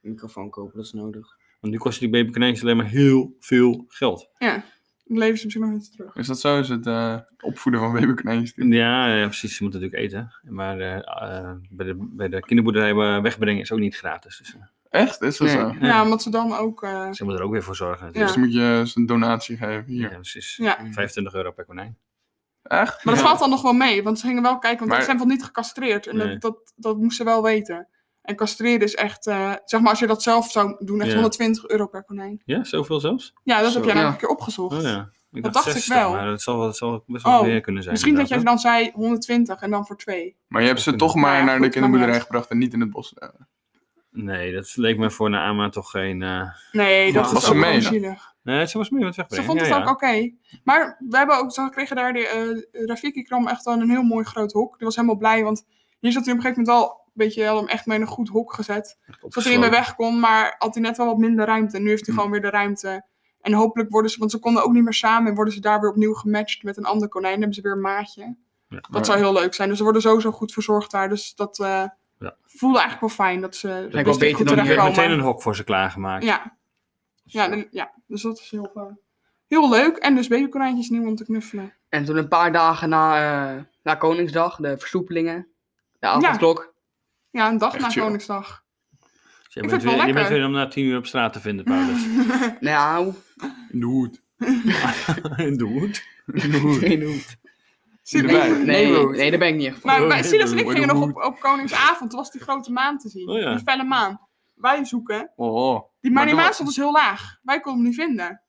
[SPEAKER 2] microfoon kopen, dat is nodig.
[SPEAKER 5] Want nu kosten die babykonijntjes alleen maar heel veel geld.
[SPEAKER 3] Dan leven ze misschien nog eens terug.
[SPEAKER 1] Is dat zo? Is het eh, opvoeden van babykonijntjes?
[SPEAKER 5] Ja, eh, precies. Ze moeten natuurlijk eten. Maar eh, eh, bij, de, bij de kinderboerderij eh, wegbrengen is ook niet gratis. Dus eh,
[SPEAKER 1] Echt? Is dat
[SPEAKER 4] Nee.
[SPEAKER 1] zo?
[SPEAKER 3] Ja, omdat ze dan ook... eh,
[SPEAKER 5] ze moeten er ook weer voor zorgen.
[SPEAKER 1] Dus
[SPEAKER 5] natuurlijk.
[SPEAKER 1] dan moet je ze een donatie geven hier.
[SPEAKER 5] Ja, precies.
[SPEAKER 3] ja.
[SPEAKER 5] 25 euro per konijn.
[SPEAKER 1] Echt?
[SPEAKER 3] Maar dat
[SPEAKER 1] Ja.
[SPEAKER 3] valt dan nog wel mee, want ze gingen wel kijken, want
[SPEAKER 1] Maar-
[SPEAKER 3] ze zijn wel niet gecastreerd. En
[SPEAKER 5] Nee.
[SPEAKER 3] dat, dat, dat moesten ze wel weten. En castreren is echt, eh, zeg maar als je dat zelf zou doen, echt
[SPEAKER 5] Ja.
[SPEAKER 3] 120 euro per konijn.
[SPEAKER 5] Ja, zoveel zelfs?
[SPEAKER 3] Ja, dat
[SPEAKER 2] Zo.
[SPEAKER 3] heb jij nou
[SPEAKER 4] Ja.
[SPEAKER 3] een keer opgezocht.
[SPEAKER 5] Oh, ja. Ik
[SPEAKER 3] Dat dacht ik wel.
[SPEAKER 5] Maar dat zal, wel- dat zal best wel
[SPEAKER 3] Oh,
[SPEAKER 5] meer kunnen zijn.
[SPEAKER 3] Misschien dat jij
[SPEAKER 5] inderdaad,
[SPEAKER 3] dan zei 120 en dan voor twee.
[SPEAKER 1] Maar je hebt ze toch
[SPEAKER 3] Nou
[SPEAKER 1] maar
[SPEAKER 3] ja,
[SPEAKER 1] naar de
[SPEAKER 3] goed, maakt niet
[SPEAKER 1] kinderboerderij
[SPEAKER 3] uit.
[SPEAKER 1] gebracht en niet in het bos. eh,
[SPEAKER 5] hè? Nee, dat leek me voor Naama toch geen... eh,
[SPEAKER 3] Nee, dat
[SPEAKER 5] Maar
[SPEAKER 3] is
[SPEAKER 1] was ze
[SPEAKER 3] ook
[SPEAKER 1] mee
[SPEAKER 3] wel
[SPEAKER 1] dan?
[SPEAKER 3] zielig.
[SPEAKER 5] Nee, ze was meer wat
[SPEAKER 3] Ze
[SPEAKER 5] wegbrengen.
[SPEAKER 3] vond het
[SPEAKER 5] ja,
[SPEAKER 3] ook oké.
[SPEAKER 5] ja.
[SPEAKER 3] Maar we hebben ook, ze kregen daar de eh, Rafiki Kram echt wel in een heel mooi groot hok. Die was helemaal blij, want hier zat hij op een gegeven moment al een beetje, hadden hem echt mee in een goed hok gezet. Zodat hij in mijn weg kon, maar had hij net wel wat minder ruimte. En nu heeft hij
[SPEAKER 1] Hm.
[SPEAKER 3] gewoon weer de ruimte. En hopelijk worden ze, want ze konden ook niet meer samen, en worden ze daar weer opnieuw gematcht met een ander konijn. Dan hebben ze weer een maatje.
[SPEAKER 1] maar-
[SPEAKER 3] Dat zou heel leuk zijn. Dus ze worden sowieso goed verzorgd daar. Dus dat eh
[SPEAKER 5] Ja.
[SPEAKER 3] voelde eigenlijk wel fijn dat ze.
[SPEAKER 4] wel
[SPEAKER 3] best
[SPEAKER 4] beter
[SPEAKER 3] goed
[SPEAKER 4] dan
[SPEAKER 5] Dan werd
[SPEAKER 3] terechtkomen.
[SPEAKER 5] meteen een hok voor ze klaargemaakt.
[SPEAKER 3] Ja. Ja, dan- ja, dus dat is heel, eh, heel leuk. En dus babykonijntjes nieuw om te knuffelen.
[SPEAKER 4] En toen een paar dagen na, eh, na Koningsdag, de versoepelingen, de avondklok.
[SPEAKER 3] Ja, een dag
[SPEAKER 1] Echt
[SPEAKER 3] na
[SPEAKER 1] chill.
[SPEAKER 3] Koningsdag.
[SPEAKER 5] Dus je,
[SPEAKER 3] Ik
[SPEAKER 5] bent
[SPEAKER 3] vind het wel
[SPEAKER 5] weer, je bent
[SPEAKER 3] lekker.
[SPEAKER 5] weer om na tien uur op straat te vinden, Paulus.
[SPEAKER 4] Nou,
[SPEAKER 1] In de hoed.
[SPEAKER 5] Doe het.
[SPEAKER 1] In de hoed.
[SPEAKER 4] geen hoed.
[SPEAKER 1] In de
[SPEAKER 3] Nee,
[SPEAKER 1] wijk.
[SPEAKER 4] Nee,
[SPEAKER 2] Nee, hoed.
[SPEAKER 4] nee, daar ben ik niet echt van.
[SPEAKER 3] Maar, maar
[SPEAKER 5] Oh,
[SPEAKER 3] Silas en ik
[SPEAKER 1] oh,
[SPEAKER 3] gingen
[SPEAKER 1] de
[SPEAKER 3] nog
[SPEAKER 1] hoed.
[SPEAKER 3] op, op Koningsavond. Toen was die grote maan te zien.
[SPEAKER 5] Oh ja.
[SPEAKER 3] Die felle maan. Wij zoeken.
[SPEAKER 1] Oh.
[SPEAKER 3] Die, maar die
[SPEAKER 1] Maar
[SPEAKER 3] maan
[SPEAKER 1] toen-
[SPEAKER 3] stond dus heel laag. Wij konden hem niet vinden.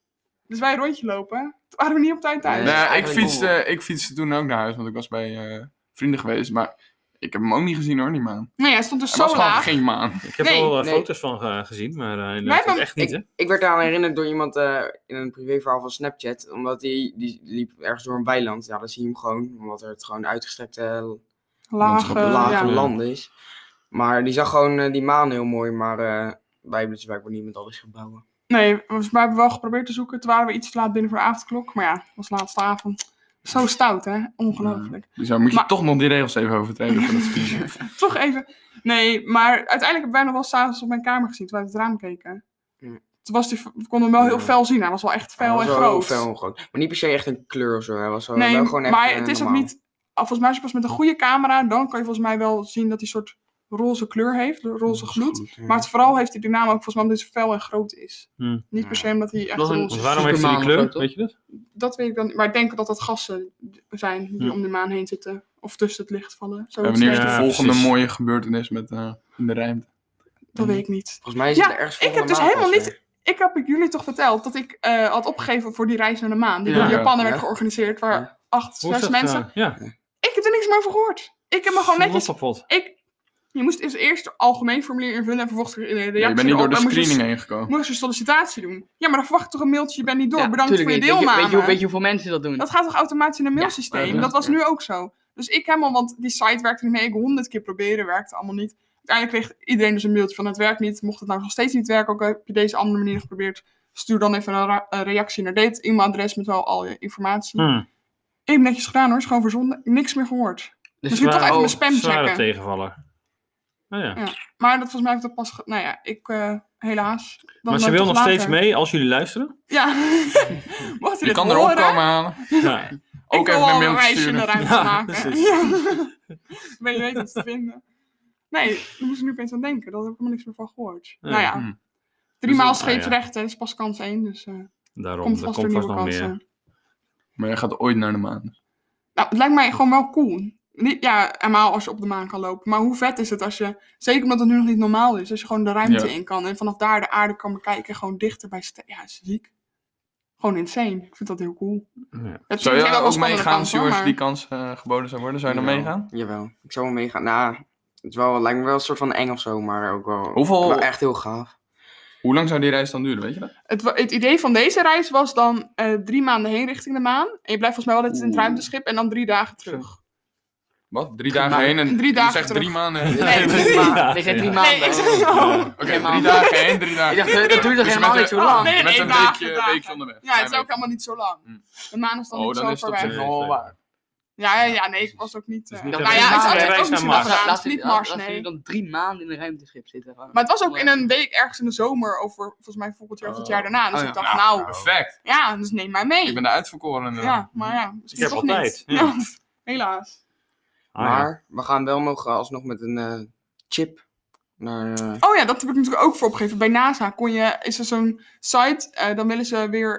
[SPEAKER 3] Dus wij een rondje lopen. Toen waren we niet op tijd thuis.
[SPEAKER 4] Nee.
[SPEAKER 1] Nou, ik
[SPEAKER 4] eigenlijk
[SPEAKER 1] fietste, ik fietste toen ook naar huis, want ik was bij eh, vrienden geweest. Maar ik heb hem ook niet gezien hoor, die maan.
[SPEAKER 3] Nee, hij stond dus
[SPEAKER 1] Er was
[SPEAKER 3] zo
[SPEAKER 1] gewoon
[SPEAKER 3] laag.
[SPEAKER 1] geen maan.
[SPEAKER 5] Ik heb
[SPEAKER 3] Nee,
[SPEAKER 5] er wel eh,
[SPEAKER 2] nee.
[SPEAKER 5] foto's van eh, gezien, maar eh,
[SPEAKER 3] Wij
[SPEAKER 5] inderdaad
[SPEAKER 3] hebben-
[SPEAKER 5] echt niet, hè?
[SPEAKER 2] Ik werd eraan herinnerd door iemand eh, in een privéverhaal van Snapchat. Omdat die, die liep ergens door een weiland. Ja, dan zie je hem gewoon. Omdat het gewoon uitgestrekte eh,
[SPEAKER 3] Laag. eh,
[SPEAKER 2] lage
[SPEAKER 3] ja.
[SPEAKER 5] ja.
[SPEAKER 2] land is. Maar die zag gewoon eh, die maan heel mooi. Maar eh, wij hebben dus blijkbaar niet met alles gebouwen.
[SPEAKER 3] Nee, we we hebben wel geprobeerd te zoeken. Toen waren we iets te laat binnen voor de avondklok. Maar ja, het was laatste avond. Zo stout, hè? Ongelooflijk.
[SPEAKER 1] Dus daar moet je
[SPEAKER 3] Maar-
[SPEAKER 1] toch nog die regels even overtreden van het fietsen.
[SPEAKER 3] Toch even. Nee, maar uiteindelijk hebben wij nog wel s'avonds op mijn kamer gezien toen we uit het raam keken.
[SPEAKER 2] Ja.
[SPEAKER 3] Toen was die, we konden hem wel heel
[SPEAKER 2] Ja.
[SPEAKER 3] fel zien. Hij was wel echt fel
[SPEAKER 2] Hij
[SPEAKER 3] en
[SPEAKER 2] was wel heel
[SPEAKER 3] groot.
[SPEAKER 2] fel en groot. Maar niet per se echt een kleur of zo. Hij was wel,
[SPEAKER 3] nee,
[SPEAKER 2] wel gewoon echt
[SPEAKER 3] maar
[SPEAKER 2] eh,
[SPEAKER 3] het is ook
[SPEAKER 2] normaal.
[SPEAKER 3] niet. ah, Volgens mij, als je pas met een goede camera, dan kan je volgens mij wel zien dat hij een soort roze kleur heeft, roze gloed.
[SPEAKER 2] ja.
[SPEAKER 3] Maar het vooral heeft hij die naam ook volgens mij omdat hij zo fel en groot is.
[SPEAKER 5] Hmm.
[SPEAKER 3] Niet per se omdat hij echt
[SPEAKER 4] Dat is een-
[SPEAKER 3] roze
[SPEAKER 5] Want
[SPEAKER 3] is.
[SPEAKER 5] waarom heeft ze die
[SPEAKER 4] Supermaan
[SPEAKER 5] kleur?
[SPEAKER 4] of zo, toch?
[SPEAKER 5] Weet je dat?
[SPEAKER 3] Dat weet ik dan niet. Maar ik denk dat dat gassen zijn die
[SPEAKER 5] Ja.
[SPEAKER 3] om de maan heen zitten. Of tussen het licht vallen.
[SPEAKER 1] En
[SPEAKER 3] Zoiets
[SPEAKER 1] wanneer is de
[SPEAKER 5] Ja,
[SPEAKER 1] volgende
[SPEAKER 5] precies.
[SPEAKER 1] mooie gebeurtenis met, eh, in de ruimte?
[SPEAKER 3] Dat weet ik niet.
[SPEAKER 2] Volgens mij is het
[SPEAKER 3] Ja,
[SPEAKER 2] ergens
[SPEAKER 3] ik heb
[SPEAKER 2] volgende
[SPEAKER 3] dus
[SPEAKER 2] maand
[SPEAKER 3] helemaal
[SPEAKER 2] of zo.
[SPEAKER 3] niet- Ik heb ik jullie toch verteld dat ik eh, had opgegeven voor die reis naar de maan. Die
[SPEAKER 4] Ja.
[SPEAKER 3] door Japanen werd
[SPEAKER 2] Ja.
[SPEAKER 3] georganiseerd. Waar
[SPEAKER 2] Ja.
[SPEAKER 3] acht
[SPEAKER 5] Hoe is
[SPEAKER 3] zes
[SPEAKER 5] dat,
[SPEAKER 3] mensen...
[SPEAKER 5] eh, ja.
[SPEAKER 3] Ik heb er niks meer over gehoord. Ik heb me gewoon netjes...
[SPEAKER 5] Lappenpot.
[SPEAKER 3] Ik... Je moest dus eerst het algemeen formulier invullen en vervolgens de reactie
[SPEAKER 1] Ja, je bent niet door
[SPEAKER 3] erop.
[SPEAKER 1] de
[SPEAKER 3] Dan moest je- dus
[SPEAKER 1] screening heen gekomen.
[SPEAKER 3] Moest je sollicitatie doen. Ja, maar dan verwacht je toch een mailtje, je bent niet door.
[SPEAKER 4] Ja,
[SPEAKER 3] Bedankt
[SPEAKER 4] tuurlijk
[SPEAKER 3] voor je
[SPEAKER 4] niet. Weet
[SPEAKER 3] deelname.
[SPEAKER 4] Weet je, hoe- weet je hoeveel mensen dat doen?
[SPEAKER 3] Dat gaat toch automatisch in een
[SPEAKER 4] Ja,
[SPEAKER 3] mailsysteem?
[SPEAKER 1] ja.
[SPEAKER 3] Dat was nu ook zo. Dus ik helemaal, want die site werkte niet mee. Ik honderd keer proberen, werkte allemaal niet. Uiteindelijk kreeg iedereen dus een mailtje van het werkt niet. Mocht het nou nog steeds niet werken, ook heb je deze andere manier geprobeerd. Stuur dan even een, ra- een reactie naar dit e-mailadres met wel al je informatie.
[SPEAKER 5] Hmm.
[SPEAKER 3] Ik heb netjes gedaan hoor, is gewoon verzonden. Niks meer gehoord.
[SPEAKER 4] Dus
[SPEAKER 3] Misschien
[SPEAKER 4] we-
[SPEAKER 3] toch even
[SPEAKER 4] oh,
[SPEAKER 3] mijn spam
[SPEAKER 5] Zware
[SPEAKER 3] checken.
[SPEAKER 5] tegenvaller. Nou ja.
[SPEAKER 3] Ja, Maar dat volgens mij heeft dat pas... ge- Nou ja, ik... eh, helaas. Dan
[SPEAKER 5] Maar
[SPEAKER 3] eh,
[SPEAKER 5] ze wil
[SPEAKER 3] tot
[SPEAKER 5] nog steeds
[SPEAKER 3] later.
[SPEAKER 5] mee als jullie luisteren.
[SPEAKER 3] Ja. Mocht je
[SPEAKER 1] Je
[SPEAKER 3] dit
[SPEAKER 1] kan
[SPEAKER 3] horen,
[SPEAKER 1] erop komen halen.
[SPEAKER 5] Ja.
[SPEAKER 1] Ook
[SPEAKER 3] ik
[SPEAKER 1] even
[SPEAKER 3] wil
[SPEAKER 1] een
[SPEAKER 3] wel een
[SPEAKER 1] mailtje
[SPEAKER 3] reisje in de
[SPEAKER 1] sturen.
[SPEAKER 3] ruimte
[SPEAKER 5] Ja,
[SPEAKER 3] maken.
[SPEAKER 5] precies.
[SPEAKER 3] Ja. Maar je weet het te vinden. Nee, daar moest ik nu opeens aan denken. Daar heb ik helemaal niks meer van gehoord.
[SPEAKER 5] Nee.
[SPEAKER 3] Nou ja,
[SPEAKER 1] Hm.
[SPEAKER 3] drie maal
[SPEAKER 5] Dus dat-
[SPEAKER 3] scheepsrecht, hè, dat is pas kans één. Dus eh
[SPEAKER 5] Daarom,
[SPEAKER 3] komt
[SPEAKER 5] er
[SPEAKER 3] vast
[SPEAKER 5] komt
[SPEAKER 3] weer
[SPEAKER 5] vast
[SPEAKER 3] nieuwe
[SPEAKER 5] nog meer.
[SPEAKER 3] kansen.
[SPEAKER 1] Maar je gaat ooit naar de maan.
[SPEAKER 3] Nou, het lijkt mij gewoon wel cool. Niet, ja, helemaal als je op de maan kan lopen. Maar hoe vet is het als je, zeker omdat het nu nog niet normaal is, als je gewoon de ruimte
[SPEAKER 1] Ja.
[SPEAKER 3] in kan en vanaf daar de aarde kan bekijken, gewoon dichter bij sterren. Ja, is ziek. Gewoon insane. Ik vind dat heel cool.
[SPEAKER 5] Ja.
[SPEAKER 3] Het
[SPEAKER 1] Zou
[SPEAKER 3] zijn
[SPEAKER 1] jij
[SPEAKER 3] wel
[SPEAKER 1] ook
[SPEAKER 3] spannende
[SPEAKER 1] meegaan,
[SPEAKER 3] kansen,
[SPEAKER 1] Stuart,
[SPEAKER 3] hoor,
[SPEAKER 1] als
[SPEAKER 3] maar-
[SPEAKER 1] die kans eh, geboden zou worden? Zou je dan
[SPEAKER 2] Jawel,
[SPEAKER 1] meegaan?
[SPEAKER 2] Jawel. Ik zou wel meegaan. Nou, het is wel, lijkt me wel een soort van eng of zo, maar ook wel,
[SPEAKER 1] Hoeveel-
[SPEAKER 2] wel echt heel gaaf.
[SPEAKER 1] Hoe lang zou die reis dan duren, weet je dat?
[SPEAKER 3] Het, wa- het idee van deze reis was dan eh, drie maanden heen richting de maan. En je blijft volgens mij wel altijd in het
[SPEAKER 1] Oeh.
[SPEAKER 3] ruimteschip en dan drie dagen terug.
[SPEAKER 1] Wat? Drie dagen heen en
[SPEAKER 3] Drie dagen
[SPEAKER 1] je zegt drie
[SPEAKER 3] terug.
[SPEAKER 1] maanden.
[SPEAKER 4] Nee, drie
[SPEAKER 5] Ja,
[SPEAKER 4] maanden. Nee, zijn
[SPEAKER 5] ja.
[SPEAKER 4] drie
[SPEAKER 3] Nee,
[SPEAKER 4] maanden.
[SPEAKER 3] ik zeg
[SPEAKER 1] Ja, Oké,
[SPEAKER 4] Drie
[SPEAKER 1] drie
[SPEAKER 4] maanden.
[SPEAKER 1] dagen heen, drie dagen
[SPEAKER 4] Ik dacht, eh, dat duurt toch
[SPEAKER 1] Dus je
[SPEAKER 4] helemaal
[SPEAKER 1] bent
[SPEAKER 4] niet
[SPEAKER 1] er-
[SPEAKER 4] zo lang?
[SPEAKER 3] Nee, nee,
[SPEAKER 1] Met een
[SPEAKER 3] dagen,
[SPEAKER 1] weekje,
[SPEAKER 3] dagen.
[SPEAKER 1] week van de weg.
[SPEAKER 3] Ja, het is
[SPEAKER 1] Klein
[SPEAKER 3] ook helemaal niet zo lang.
[SPEAKER 1] Hm.
[SPEAKER 3] De maan is dan
[SPEAKER 1] Oh,
[SPEAKER 3] niet
[SPEAKER 1] dan
[SPEAKER 3] zo
[SPEAKER 1] is het
[SPEAKER 3] ver
[SPEAKER 1] op
[SPEAKER 3] weg.
[SPEAKER 1] zich nog wel waar.
[SPEAKER 3] Ja, ja, ja, nee, ik was ook niet...
[SPEAKER 5] Dus
[SPEAKER 3] eh,
[SPEAKER 5] niet
[SPEAKER 3] nou
[SPEAKER 5] dat we
[SPEAKER 3] ja, het
[SPEAKER 5] drie
[SPEAKER 3] is
[SPEAKER 5] maanden
[SPEAKER 3] altijd ook niet
[SPEAKER 5] reis naar
[SPEAKER 3] zo lang
[SPEAKER 5] Mars.
[SPEAKER 3] gedaan. Het
[SPEAKER 4] Laat
[SPEAKER 3] is niet Mars,
[SPEAKER 4] Laat je
[SPEAKER 3] nee.
[SPEAKER 4] dan drie maanden in een ruimteschip zitten.
[SPEAKER 3] Maar het was ook in een week ergens in de zomer over, volgens mij volgend jaar of het jaar daarna. Dus
[SPEAKER 1] Oh,
[SPEAKER 3] ik
[SPEAKER 1] ja.
[SPEAKER 3] dacht, nou,
[SPEAKER 1] Perfect.
[SPEAKER 3] ja, dus neem mij mee.
[SPEAKER 1] Ik ben de uitverkoren. eh.
[SPEAKER 3] Ja, maar ja, dus
[SPEAKER 5] Ik heb
[SPEAKER 3] toch
[SPEAKER 5] altijd.
[SPEAKER 3] niet.
[SPEAKER 5] Ja.
[SPEAKER 3] Ja, Helaas.
[SPEAKER 5] Ah, ja.
[SPEAKER 2] maar we gaan wel nog eh, alsnog met een eh, chip naar... eh,
[SPEAKER 3] Oh ja, dat heb ik natuurlijk ook voor opgegeven. Bij NASA kon je, is er zo'n site, eh, dan willen ze weer,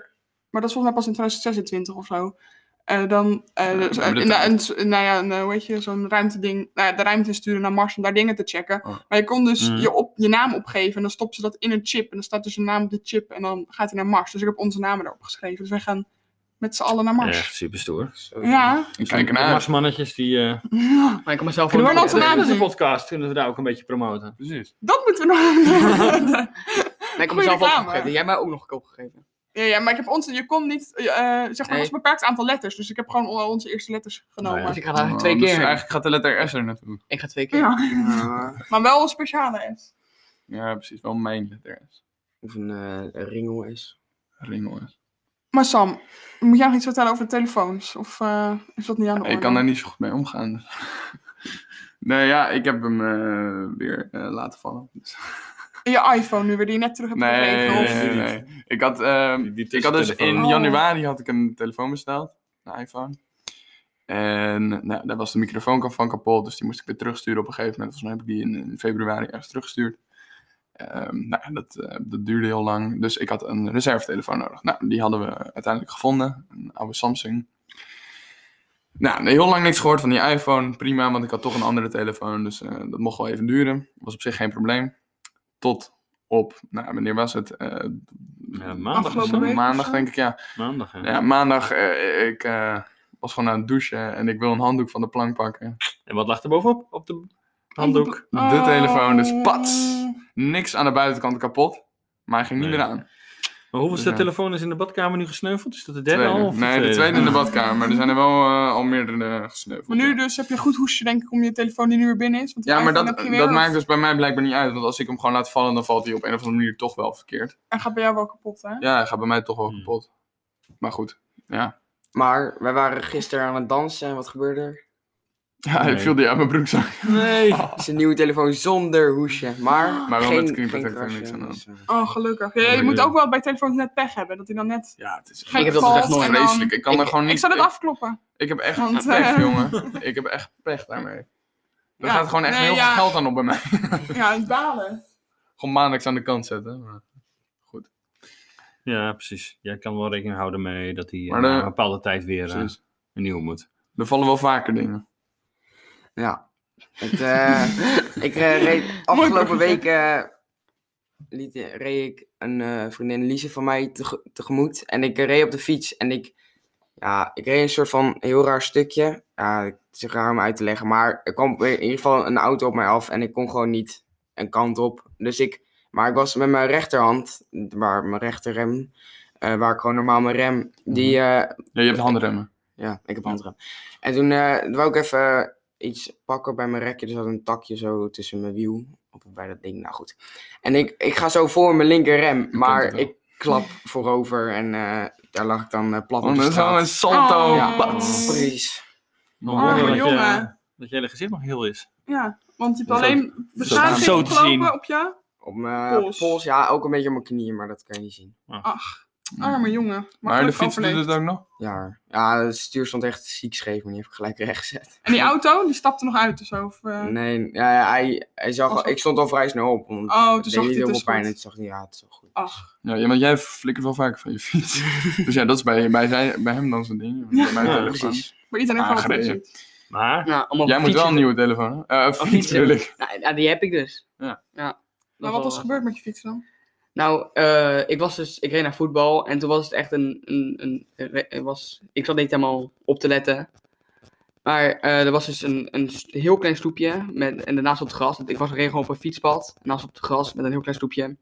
[SPEAKER 3] maar dat is volgens mij pas in 2026 of zo. eh, dan eh, dus, eh,
[SPEAKER 5] maar dat-
[SPEAKER 3] nou, een, s- nou ja, een, eh, hoe heet je, zo'n ruimteding, nou ja, de ruimte insturen naar Mars om daar dingen te checken.
[SPEAKER 1] Oh.
[SPEAKER 3] Maar je kon dus
[SPEAKER 5] Mhm.
[SPEAKER 3] je, op, je naam opgeven en dan stopt ze dat in een chip. En dan staat dus je naam op die chip en dan gaat hij naar Mars. Dus ik heb onze namen erop geschreven. Dus wij gaan met z'n allen naar Mars.
[SPEAKER 5] Echt super stoer.
[SPEAKER 2] Zo.
[SPEAKER 3] Ja.
[SPEAKER 1] Ik kijk ernaar.
[SPEAKER 5] Marsmannetjes die... eh,
[SPEAKER 3] ja.
[SPEAKER 4] Maar ik kan mezelf
[SPEAKER 3] Kunnen we
[SPEAKER 4] gewoon-
[SPEAKER 3] een naam
[SPEAKER 5] dat is een
[SPEAKER 3] zien?
[SPEAKER 5] podcast. Kunnen we daar ook een beetje promoten.
[SPEAKER 1] Precies.
[SPEAKER 3] Dat moeten we nog
[SPEAKER 4] Nee, ik heb
[SPEAKER 3] Goeie
[SPEAKER 4] mezelf ook
[SPEAKER 3] reclame.
[SPEAKER 4] opgegeven. Jij mij ook nog opgegeven.
[SPEAKER 3] ja, ja, maar ik heb onze, je kon niet, eh, eh, zeg maar,
[SPEAKER 4] Nee.
[SPEAKER 3] ons beperkt aantal letters. Dus ik heb gewoon on- onze eerste letters genomen.
[SPEAKER 4] Dus ik ga daar
[SPEAKER 1] Oh,
[SPEAKER 4] twee
[SPEAKER 1] dus
[SPEAKER 4] keer heen.
[SPEAKER 1] Eigenlijk gaat de letter S er naartoe.
[SPEAKER 4] Ik ga twee keer.
[SPEAKER 3] Ja.
[SPEAKER 2] Ja.
[SPEAKER 3] Maar wel een speciale S.
[SPEAKER 1] Ja, precies. Wel mijn letter S.
[SPEAKER 2] Of een eh, ringel is.
[SPEAKER 1] Ringel S.
[SPEAKER 3] Maar Sam, moet jij nog iets vertellen over de telefoons? Of eh, is dat niet aan de orde?
[SPEAKER 1] Ik kan daar niet zo goed mee omgaan. dus. nee, ja, ik heb hem eh, weer eh, laten vallen. Dus-
[SPEAKER 3] Je iPhone nu weer, die je net terug hebt
[SPEAKER 1] Nee, nee,
[SPEAKER 3] gegeven.
[SPEAKER 1] nee,
[SPEAKER 3] Of...
[SPEAKER 1] nee, nee. Ik had, ehm,
[SPEAKER 5] Die- die
[SPEAKER 1] ik had dus in
[SPEAKER 5] tussentelefoontjes.
[SPEAKER 1] januari had ik een telefoon besteld. Een iPhone. En nou, daar was de microfoon van kapot, dus die moest ik weer terugsturen op een gegeven moment. Volgens mij heb ik die in, in februari ergens teruggestuurd. Ehm, nou, ja, dat, eh, dat duurde heel lang, dus ik had een reservetelefoon nodig. Nou, die hadden we uiteindelijk gevonden, een oude Samsung. Nou, heel lang niks gehoord van die iPhone, prima, want ik had toch een andere telefoon, dus eh, dat mocht wel even duren. Was op zich geen probleem. Tot op, nou, wanneer was het? Eh,
[SPEAKER 5] Ja, maandag, is
[SPEAKER 3] Afgelopen
[SPEAKER 5] dat.
[SPEAKER 3] week.
[SPEAKER 1] maandag
[SPEAKER 3] of zo?
[SPEAKER 1] denk ik, ja.
[SPEAKER 5] maandag hè.
[SPEAKER 1] Ja, maandag, eh, ik eh, was gewoon aan het douchen en ik wil een handdoek van de plank pakken.
[SPEAKER 5] En wat lag er bovenop? Op de handdoek?
[SPEAKER 1] De telefoon, dus
[SPEAKER 3] Oh.
[SPEAKER 1] pats. Niks aan de buitenkant kapot, maar hij ging niet
[SPEAKER 5] Nee.
[SPEAKER 1] meer aan.
[SPEAKER 5] Maar hoeveelste
[SPEAKER 1] Ja.
[SPEAKER 5] telefoon is in de badkamer nu gesneuveld? Is dat de derde
[SPEAKER 1] Tweede.
[SPEAKER 5] al? of
[SPEAKER 1] nee, de tweede in de badkamer, maar er zijn er wel eh, al meerdere eh, gesneuveld.
[SPEAKER 3] Maar nu dus heb je een goed hoesje, denk ik, om je telefoon die nu weer binnen is. Want die
[SPEAKER 1] ja, maar
[SPEAKER 3] iPhone
[SPEAKER 1] dat,
[SPEAKER 3] heb je weer
[SPEAKER 1] dat
[SPEAKER 3] wel.
[SPEAKER 1] maakt dus bij mij blijkbaar niet uit, want als ik hem gewoon laat vallen, dan valt hij op een of andere manier toch wel verkeerd.
[SPEAKER 3] En gaat bij jou wel kapot, hè?
[SPEAKER 1] Ja, hij gaat bij mij toch wel
[SPEAKER 5] Hmm.
[SPEAKER 1] kapot. Maar goed, ja.
[SPEAKER 2] Maar wij waren gisteren aan het dansen en wat gebeurde er?
[SPEAKER 1] Ja, hij
[SPEAKER 5] Nee.
[SPEAKER 1] viel die uit mijn broekzak.
[SPEAKER 5] Ah, Nee.
[SPEAKER 1] Oh.
[SPEAKER 2] Zijn nieuwe telefoon zonder hoesje. Maar,
[SPEAKER 1] Maar wel
[SPEAKER 2] geen,
[SPEAKER 1] met screen
[SPEAKER 2] geen
[SPEAKER 1] protector,
[SPEAKER 2] crashen,
[SPEAKER 1] niks aan de hand.
[SPEAKER 2] dus, eh.
[SPEAKER 3] Oh, gelukkig. Ja, je
[SPEAKER 5] Ja,
[SPEAKER 3] moet
[SPEAKER 5] ja.
[SPEAKER 3] ook wel bij telefoons net pech hebben, dat hij dan net...
[SPEAKER 1] Ja, het is
[SPEAKER 4] Ik heb dat dus echt nooit.
[SPEAKER 3] En dan-
[SPEAKER 1] vreselijk. Ik kan er
[SPEAKER 4] Ik-
[SPEAKER 1] gewoon niet...
[SPEAKER 3] Ik zal het
[SPEAKER 1] ik-
[SPEAKER 3] afkloppen.
[SPEAKER 1] Ik heb echt
[SPEAKER 3] Want,
[SPEAKER 1] pech,
[SPEAKER 3] eh,
[SPEAKER 1] jongen. Ik heb echt pech daarmee. Daar
[SPEAKER 3] Ja,
[SPEAKER 1] gaat gewoon echt
[SPEAKER 3] nee,
[SPEAKER 1] heel
[SPEAKER 3] ja.
[SPEAKER 1] veel geld aan op bij mij.
[SPEAKER 3] Ja, het balen.
[SPEAKER 1] Gewoon maandelijks aan de kant zetten. Maar,
[SPEAKER 5] Ja, precies. Jij kan wel rekening houden mee dat hij eh,
[SPEAKER 1] Maar de-
[SPEAKER 5] na een bepaalde tijd weer eh,
[SPEAKER 1] precies.
[SPEAKER 5] een nieuwe moet.
[SPEAKER 1] Er vallen wel vaker dingen.
[SPEAKER 2] Ja. Het, eh, ik eh, reed afgelopen week eh, liet, reed ik een eh, vriendin Lise van mij tege- tegemoet. En ik eh, reed op de fiets en ik, ja, ik reed een soort van heel raar stukje. Ja, het is raar om uit te leggen, maar er kwam in ieder geval een auto op mij af en ik kon gewoon niet een kant op. Dus ik, maar ik was met mijn rechterhand, waar mijn rechterrem, eh, waar ik gewoon normaal mijn rem, die
[SPEAKER 1] Mhm.
[SPEAKER 2] eh,
[SPEAKER 1] Ja, je hebt handremmen.
[SPEAKER 2] ja, ik heb handrem. En toen eh wou ik even eh, iets pakken bij mijn rekje. Dus Er zat een takje zo tussen mijn wiel. Of bij dat ding, nou goed. En ik, ik ga zo voor mijn linkerrem.
[SPEAKER 1] kent het
[SPEAKER 2] Maar
[SPEAKER 1] wel.
[SPEAKER 2] ik klap voorover. En eh, daar lag ik dan eh, plat op
[SPEAKER 1] Want
[SPEAKER 2] de
[SPEAKER 1] er is al een
[SPEAKER 2] straat.
[SPEAKER 1] salto.
[SPEAKER 3] Oh.
[SPEAKER 2] Ja,
[SPEAKER 1] Bats.
[SPEAKER 2] precies.
[SPEAKER 5] Nog
[SPEAKER 1] Oh,
[SPEAKER 5] horen dat, je-
[SPEAKER 3] jongen.
[SPEAKER 5] dat je hele gezicht nog heel is.
[SPEAKER 3] Ja, want je hebt
[SPEAKER 5] Zo-
[SPEAKER 3] alleen beschadiging
[SPEAKER 5] zo te zien.
[SPEAKER 3] opgelopen op je
[SPEAKER 2] Op mijn
[SPEAKER 3] Pols.
[SPEAKER 2] pols. ja. Ook een beetje op mijn knieën, maar dat kan je niet zien.
[SPEAKER 3] arme jongen. Maar,
[SPEAKER 1] Maar de
[SPEAKER 3] gelukkig
[SPEAKER 1] fiets doet
[SPEAKER 3] overleefd.
[SPEAKER 1] het ook nog.
[SPEAKER 2] Ja, ja, het stuur stond echt ziek scheef. Maar die heb ik gelijk recht gezet.
[SPEAKER 3] En die auto, die stapte nog uit of zo? Of, eh,
[SPEAKER 2] Nee, ja, ja, hij, hij zag,
[SPEAKER 3] Was
[SPEAKER 2] al- ik stond al vrij snel op. Want
[SPEAKER 3] Oh,
[SPEAKER 2] het
[SPEAKER 3] toen
[SPEAKER 2] deed
[SPEAKER 3] zag
[SPEAKER 2] niet
[SPEAKER 3] hij
[SPEAKER 2] heel
[SPEAKER 3] het
[SPEAKER 2] veel
[SPEAKER 3] dus
[SPEAKER 2] pijn.
[SPEAKER 3] goed.
[SPEAKER 2] en toen zag hij, ja, het is wel goed.
[SPEAKER 3] Ach,
[SPEAKER 1] Ja, ja, want jij flikkert wel vaker van je fiets. dus ja, dat is bij, bij, zijn, bij hem dan zijn ding. Bij mij
[SPEAKER 5] Ja,
[SPEAKER 1] telefoon.
[SPEAKER 2] Precies.
[SPEAKER 3] maar iedereen heeft wel wat
[SPEAKER 1] Aangereden.
[SPEAKER 3] gezien.
[SPEAKER 5] Maar
[SPEAKER 4] Nou, allemaal
[SPEAKER 1] Jij moet wel een
[SPEAKER 4] fietsen.
[SPEAKER 1] nieuwe telefoon. hè? Eh, fiets
[SPEAKER 4] fietsen.
[SPEAKER 1] bedoel ik.
[SPEAKER 4] Nou, nou, die heb ik dus.
[SPEAKER 1] Ja.
[SPEAKER 3] Maar wat
[SPEAKER 4] Dat
[SPEAKER 3] was
[SPEAKER 4] wel-
[SPEAKER 3] er gebeurd met je fiets dan?
[SPEAKER 4] Nou, eh, ik was dus, ik reed naar voetbal en toen was het echt een, een, een, er was, ik zat niet helemaal op te letten. Maar eh, er was dus een, een s- heel klein stoepje met, en daarnaast op het gras. Ik was reed gewoon op een fietspad, naast op het gras met een heel klein stoepje.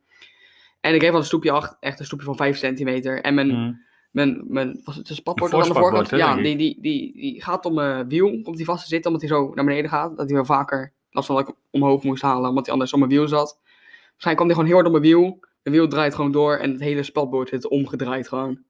[SPEAKER 4] En ik reed van een stoepje acht, echt een stoepje van 5 centimeter. En mijn,
[SPEAKER 5] mm,
[SPEAKER 4] mijn, mijn was het een spatbord
[SPEAKER 5] Een
[SPEAKER 4] dat aan de
[SPEAKER 5] voorspatbord,
[SPEAKER 4] voorkant?
[SPEAKER 5] hè,
[SPEAKER 4] Ja,
[SPEAKER 5] denk
[SPEAKER 4] die,
[SPEAKER 5] ik.
[SPEAKER 4] die, die, die gaat om mijn wiel, komt die vast te zitten, omdat hij zo naar beneden gaat. Dat hij wel vaker, last van dat ik hem omhoog moest halen, omdat hij anders om mijn wiel zat. Waarschijnlijk kwam hij gewoon heel hard om mijn wiel. Mijn wiel draait gewoon door en het hele spatbord zit omgedraaid gewoon.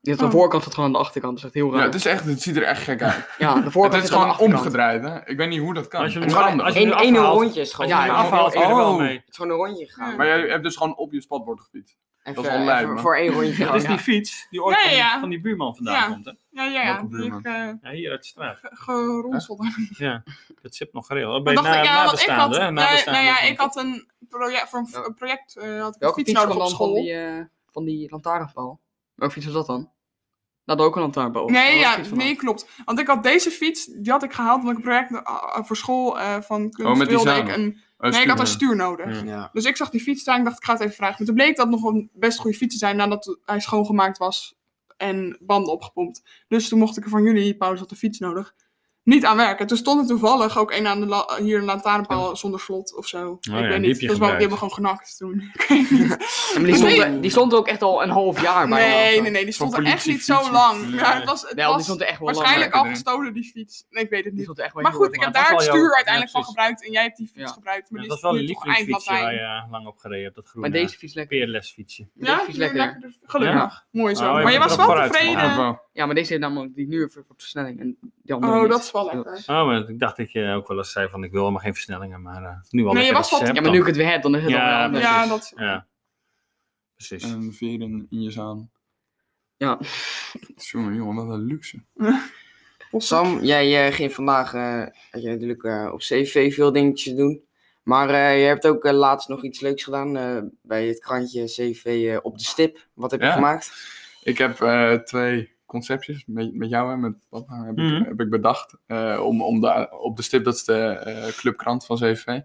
[SPEAKER 4] Je hebt aan de
[SPEAKER 3] Oh.
[SPEAKER 4] voorkant zit gewoon aan de achterkant, dat is echt
[SPEAKER 1] Ja,
[SPEAKER 4] heel raar. Ja,
[SPEAKER 1] het, is echt, het ziet er echt gek uit.
[SPEAKER 4] de
[SPEAKER 1] Het
[SPEAKER 4] voorkant
[SPEAKER 1] is
[SPEAKER 4] zit aan de
[SPEAKER 1] gewoon
[SPEAKER 4] achterkant.
[SPEAKER 1] omgedraaid, hè? Ik weet niet hoe dat kan.
[SPEAKER 5] Als je
[SPEAKER 1] Het
[SPEAKER 5] hem
[SPEAKER 1] is
[SPEAKER 5] nu
[SPEAKER 1] handig.
[SPEAKER 5] als je
[SPEAKER 2] Eén
[SPEAKER 5] nu
[SPEAKER 2] één
[SPEAKER 5] afhaalt-
[SPEAKER 2] rondje is
[SPEAKER 5] Als
[SPEAKER 2] gewoon.
[SPEAKER 5] je
[SPEAKER 4] Ja,
[SPEAKER 5] hem
[SPEAKER 4] ik-
[SPEAKER 5] afhaalt,
[SPEAKER 1] ik-
[SPEAKER 5] kun je er wel
[SPEAKER 1] oh.
[SPEAKER 5] mee.
[SPEAKER 2] Het is gewoon een rondje gegaan.
[SPEAKER 1] Maar jij hebt dus gewoon op je spatbord gefietst.
[SPEAKER 2] Even,
[SPEAKER 1] Dat is wel lijp,
[SPEAKER 2] even
[SPEAKER 1] man.
[SPEAKER 2] voor één rondje.
[SPEAKER 5] Dat is
[SPEAKER 2] ja.
[SPEAKER 5] die fiets die ooit
[SPEAKER 3] Ja,
[SPEAKER 5] van, die,
[SPEAKER 3] ja.
[SPEAKER 5] van die buurman vandaan
[SPEAKER 3] Ja.
[SPEAKER 5] komt. Hè?
[SPEAKER 3] Ja, ja, ja.
[SPEAKER 1] Welke
[SPEAKER 3] Die
[SPEAKER 1] buurman?
[SPEAKER 3] ik eh
[SPEAKER 5] Ja, hier uit de straat.
[SPEAKER 3] geronseld heb.
[SPEAKER 5] Ja, dat zit nog gereel. Dat ben
[SPEAKER 3] Maar
[SPEAKER 5] je
[SPEAKER 3] dacht
[SPEAKER 5] na,
[SPEAKER 3] ik, ja, want ik had,
[SPEAKER 5] nabestaande, hè?
[SPEAKER 3] nee,
[SPEAKER 5] Nabestaande
[SPEAKER 3] nou ja,
[SPEAKER 5] van-
[SPEAKER 3] ik had een project, voor een v- een project eh, had ik een
[SPEAKER 4] Welke
[SPEAKER 3] fiets
[SPEAKER 4] fiets kwam
[SPEAKER 3] nodig op
[SPEAKER 4] dan van
[SPEAKER 3] school.
[SPEAKER 4] die, eh, van die lantaarnpaal? Welke fiets was dat dan? hadden ook een lantaarnboog. Daar
[SPEAKER 3] Nee,
[SPEAKER 4] was
[SPEAKER 3] ja,
[SPEAKER 4] iets van
[SPEAKER 3] nee, klopt. Want ik had deze fiets, die had ik gehaald omdat ik een project eh, voor school eh, van kunst
[SPEAKER 1] met die
[SPEAKER 3] wilde ik
[SPEAKER 1] zadel.
[SPEAKER 3] een...
[SPEAKER 1] Oh,
[SPEAKER 3] nee, ik had een
[SPEAKER 1] stuur.
[SPEAKER 3] stuur nodig.
[SPEAKER 5] Ja.
[SPEAKER 2] Ja.
[SPEAKER 3] Dus ik zag die fiets staan en ik dacht, ik ga het even vragen. Maar toen bleek dat nog een best goede fiets te zijn nadat hij schoongemaakt was en banden opgepompt. Dus toen mocht ik er van jullie, Paulus had de fiets nodig, niet aan werken. Toen stond er toevallig ook een aan de la- hier een lantaarnpaal zonder slot of zo.
[SPEAKER 5] Oh.
[SPEAKER 3] ik
[SPEAKER 5] ja, die
[SPEAKER 3] weet
[SPEAKER 5] heb je
[SPEAKER 3] niet. Dus wel- die hebben we
[SPEAKER 5] gebruikt.
[SPEAKER 3] gewoon genakt toen. Ik weet niet.
[SPEAKER 4] En die,
[SPEAKER 3] Nee.
[SPEAKER 4] stond, die stond ook echt al een half jaar bijna.
[SPEAKER 3] Nee, nee, nee, die stond er echt niet zo
[SPEAKER 1] politiefiets,
[SPEAKER 3] lang.
[SPEAKER 1] nee.
[SPEAKER 3] Ja, het was, het
[SPEAKER 4] Nee, want die
[SPEAKER 3] was
[SPEAKER 4] stond er echt wel lang,
[SPEAKER 3] waarschijnlijk
[SPEAKER 1] maar-
[SPEAKER 3] al gestolen, die fiets. Nee, ik weet het
[SPEAKER 4] Die
[SPEAKER 3] niet.
[SPEAKER 4] stond er echt wel
[SPEAKER 3] Maar
[SPEAKER 4] heel
[SPEAKER 3] goed, ik
[SPEAKER 4] lang.
[SPEAKER 3] heb
[SPEAKER 5] dat
[SPEAKER 3] daar het
[SPEAKER 5] was wel jouw-
[SPEAKER 3] stuur uiteindelijk van
[SPEAKER 5] ja,
[SPEAKER 3] gebruikt en jij hebt die fiets
[SPEAKER 4] Ja.
[SPEAKER 3] gebruikt. Maar die
[SPEAKER 5] dat was
[SPEAKER 3] is
[SPEAKER 5] wel een
[SPEAKER 3] nu toch eind
[SPEAKER 5] lievelingsfietsje waar
[SPEAKER 3] Latijn.
[SPEAKER 5] je eh, lang op gereden hebt, dat groene
[SPEAKER 4] Maar deze fiets lekker.
[SPEAKER 5] peerlesfietsje.
[SPEAKER 4] Deze
[SPEAKER 3] Ja,
[SPEAKER 4] fiets lekker.
[SPEAKER 3] Gelukkig. Mooi zo.
[SPEAKER 5] Oh, ja,
[SPEAKER 3] maar je was
[SPEAKER 5] dat
[SPEAKER 3] wel
[SPEAKER 5] vooruit.
[SPEAKER 1] Ja,
[SPEAKER 3] tevreden.
[SPEAKER 1] wel.
[SPEAKER 4] Ja, maar deze heeft namelijk die nu weer voor versnelling. En die andere
[SPEAKER 3] Oh,
[SPEAKER 4] niet.
[SPEAKER 3] dat is wel lekker.
[SPEAKER 5] Oh, maar ik dacht dat je ook wel eens zei van ik wil helemaal geen versnellingen, maar eh, nu al
[SPEAKER 3] Nee, je
[SPEAKER 5] lekker
[SPEAKER 3] was
[SPEAKER 5] dat
[SPEAKER 3] wat-
[SPEAKER 5] hebt
[SPEAKER 4] Oh. Ja, maar nu ik het weer heb, dan is het
[SPEAKER 5] Ja,
[SPEAKER 4] al wel
[SPEAKER 5] precies.
[SPEAKER 3] Ja,
[SPEAKER 4] anders.
[SPEAKER 3] dat
[SPEAKER 5] dan. Ja, precies.
[SPEAKER 1] En veren in je zaan.
[SPEAKER 4] Ja.
[SPEAKER 1] Jongen, jongen, wat een luxe.
[SPEAKER 2] Sam, jij eh, ging vandaag eh, had je natuurlijk eh, op CV veel dingetjes doen. Maar eh, je hebt ook eh, laatst nog iets leuks gedaan eh, bij het krantje CV eh, op de stip. Wat heb je
[SPEAKER 1] Ja.
[SPEAKER 2] gemaakt?
[SPEAKER 1] Ik heb eh, twee conceptjes met, met jou en met papa heb,
[SPEAKER 5] Mhm.
[SPEAKER 1] ik, heb ik bedacht. eh, om, om de, op de stip, dat is de eh, clubkrant van CVV.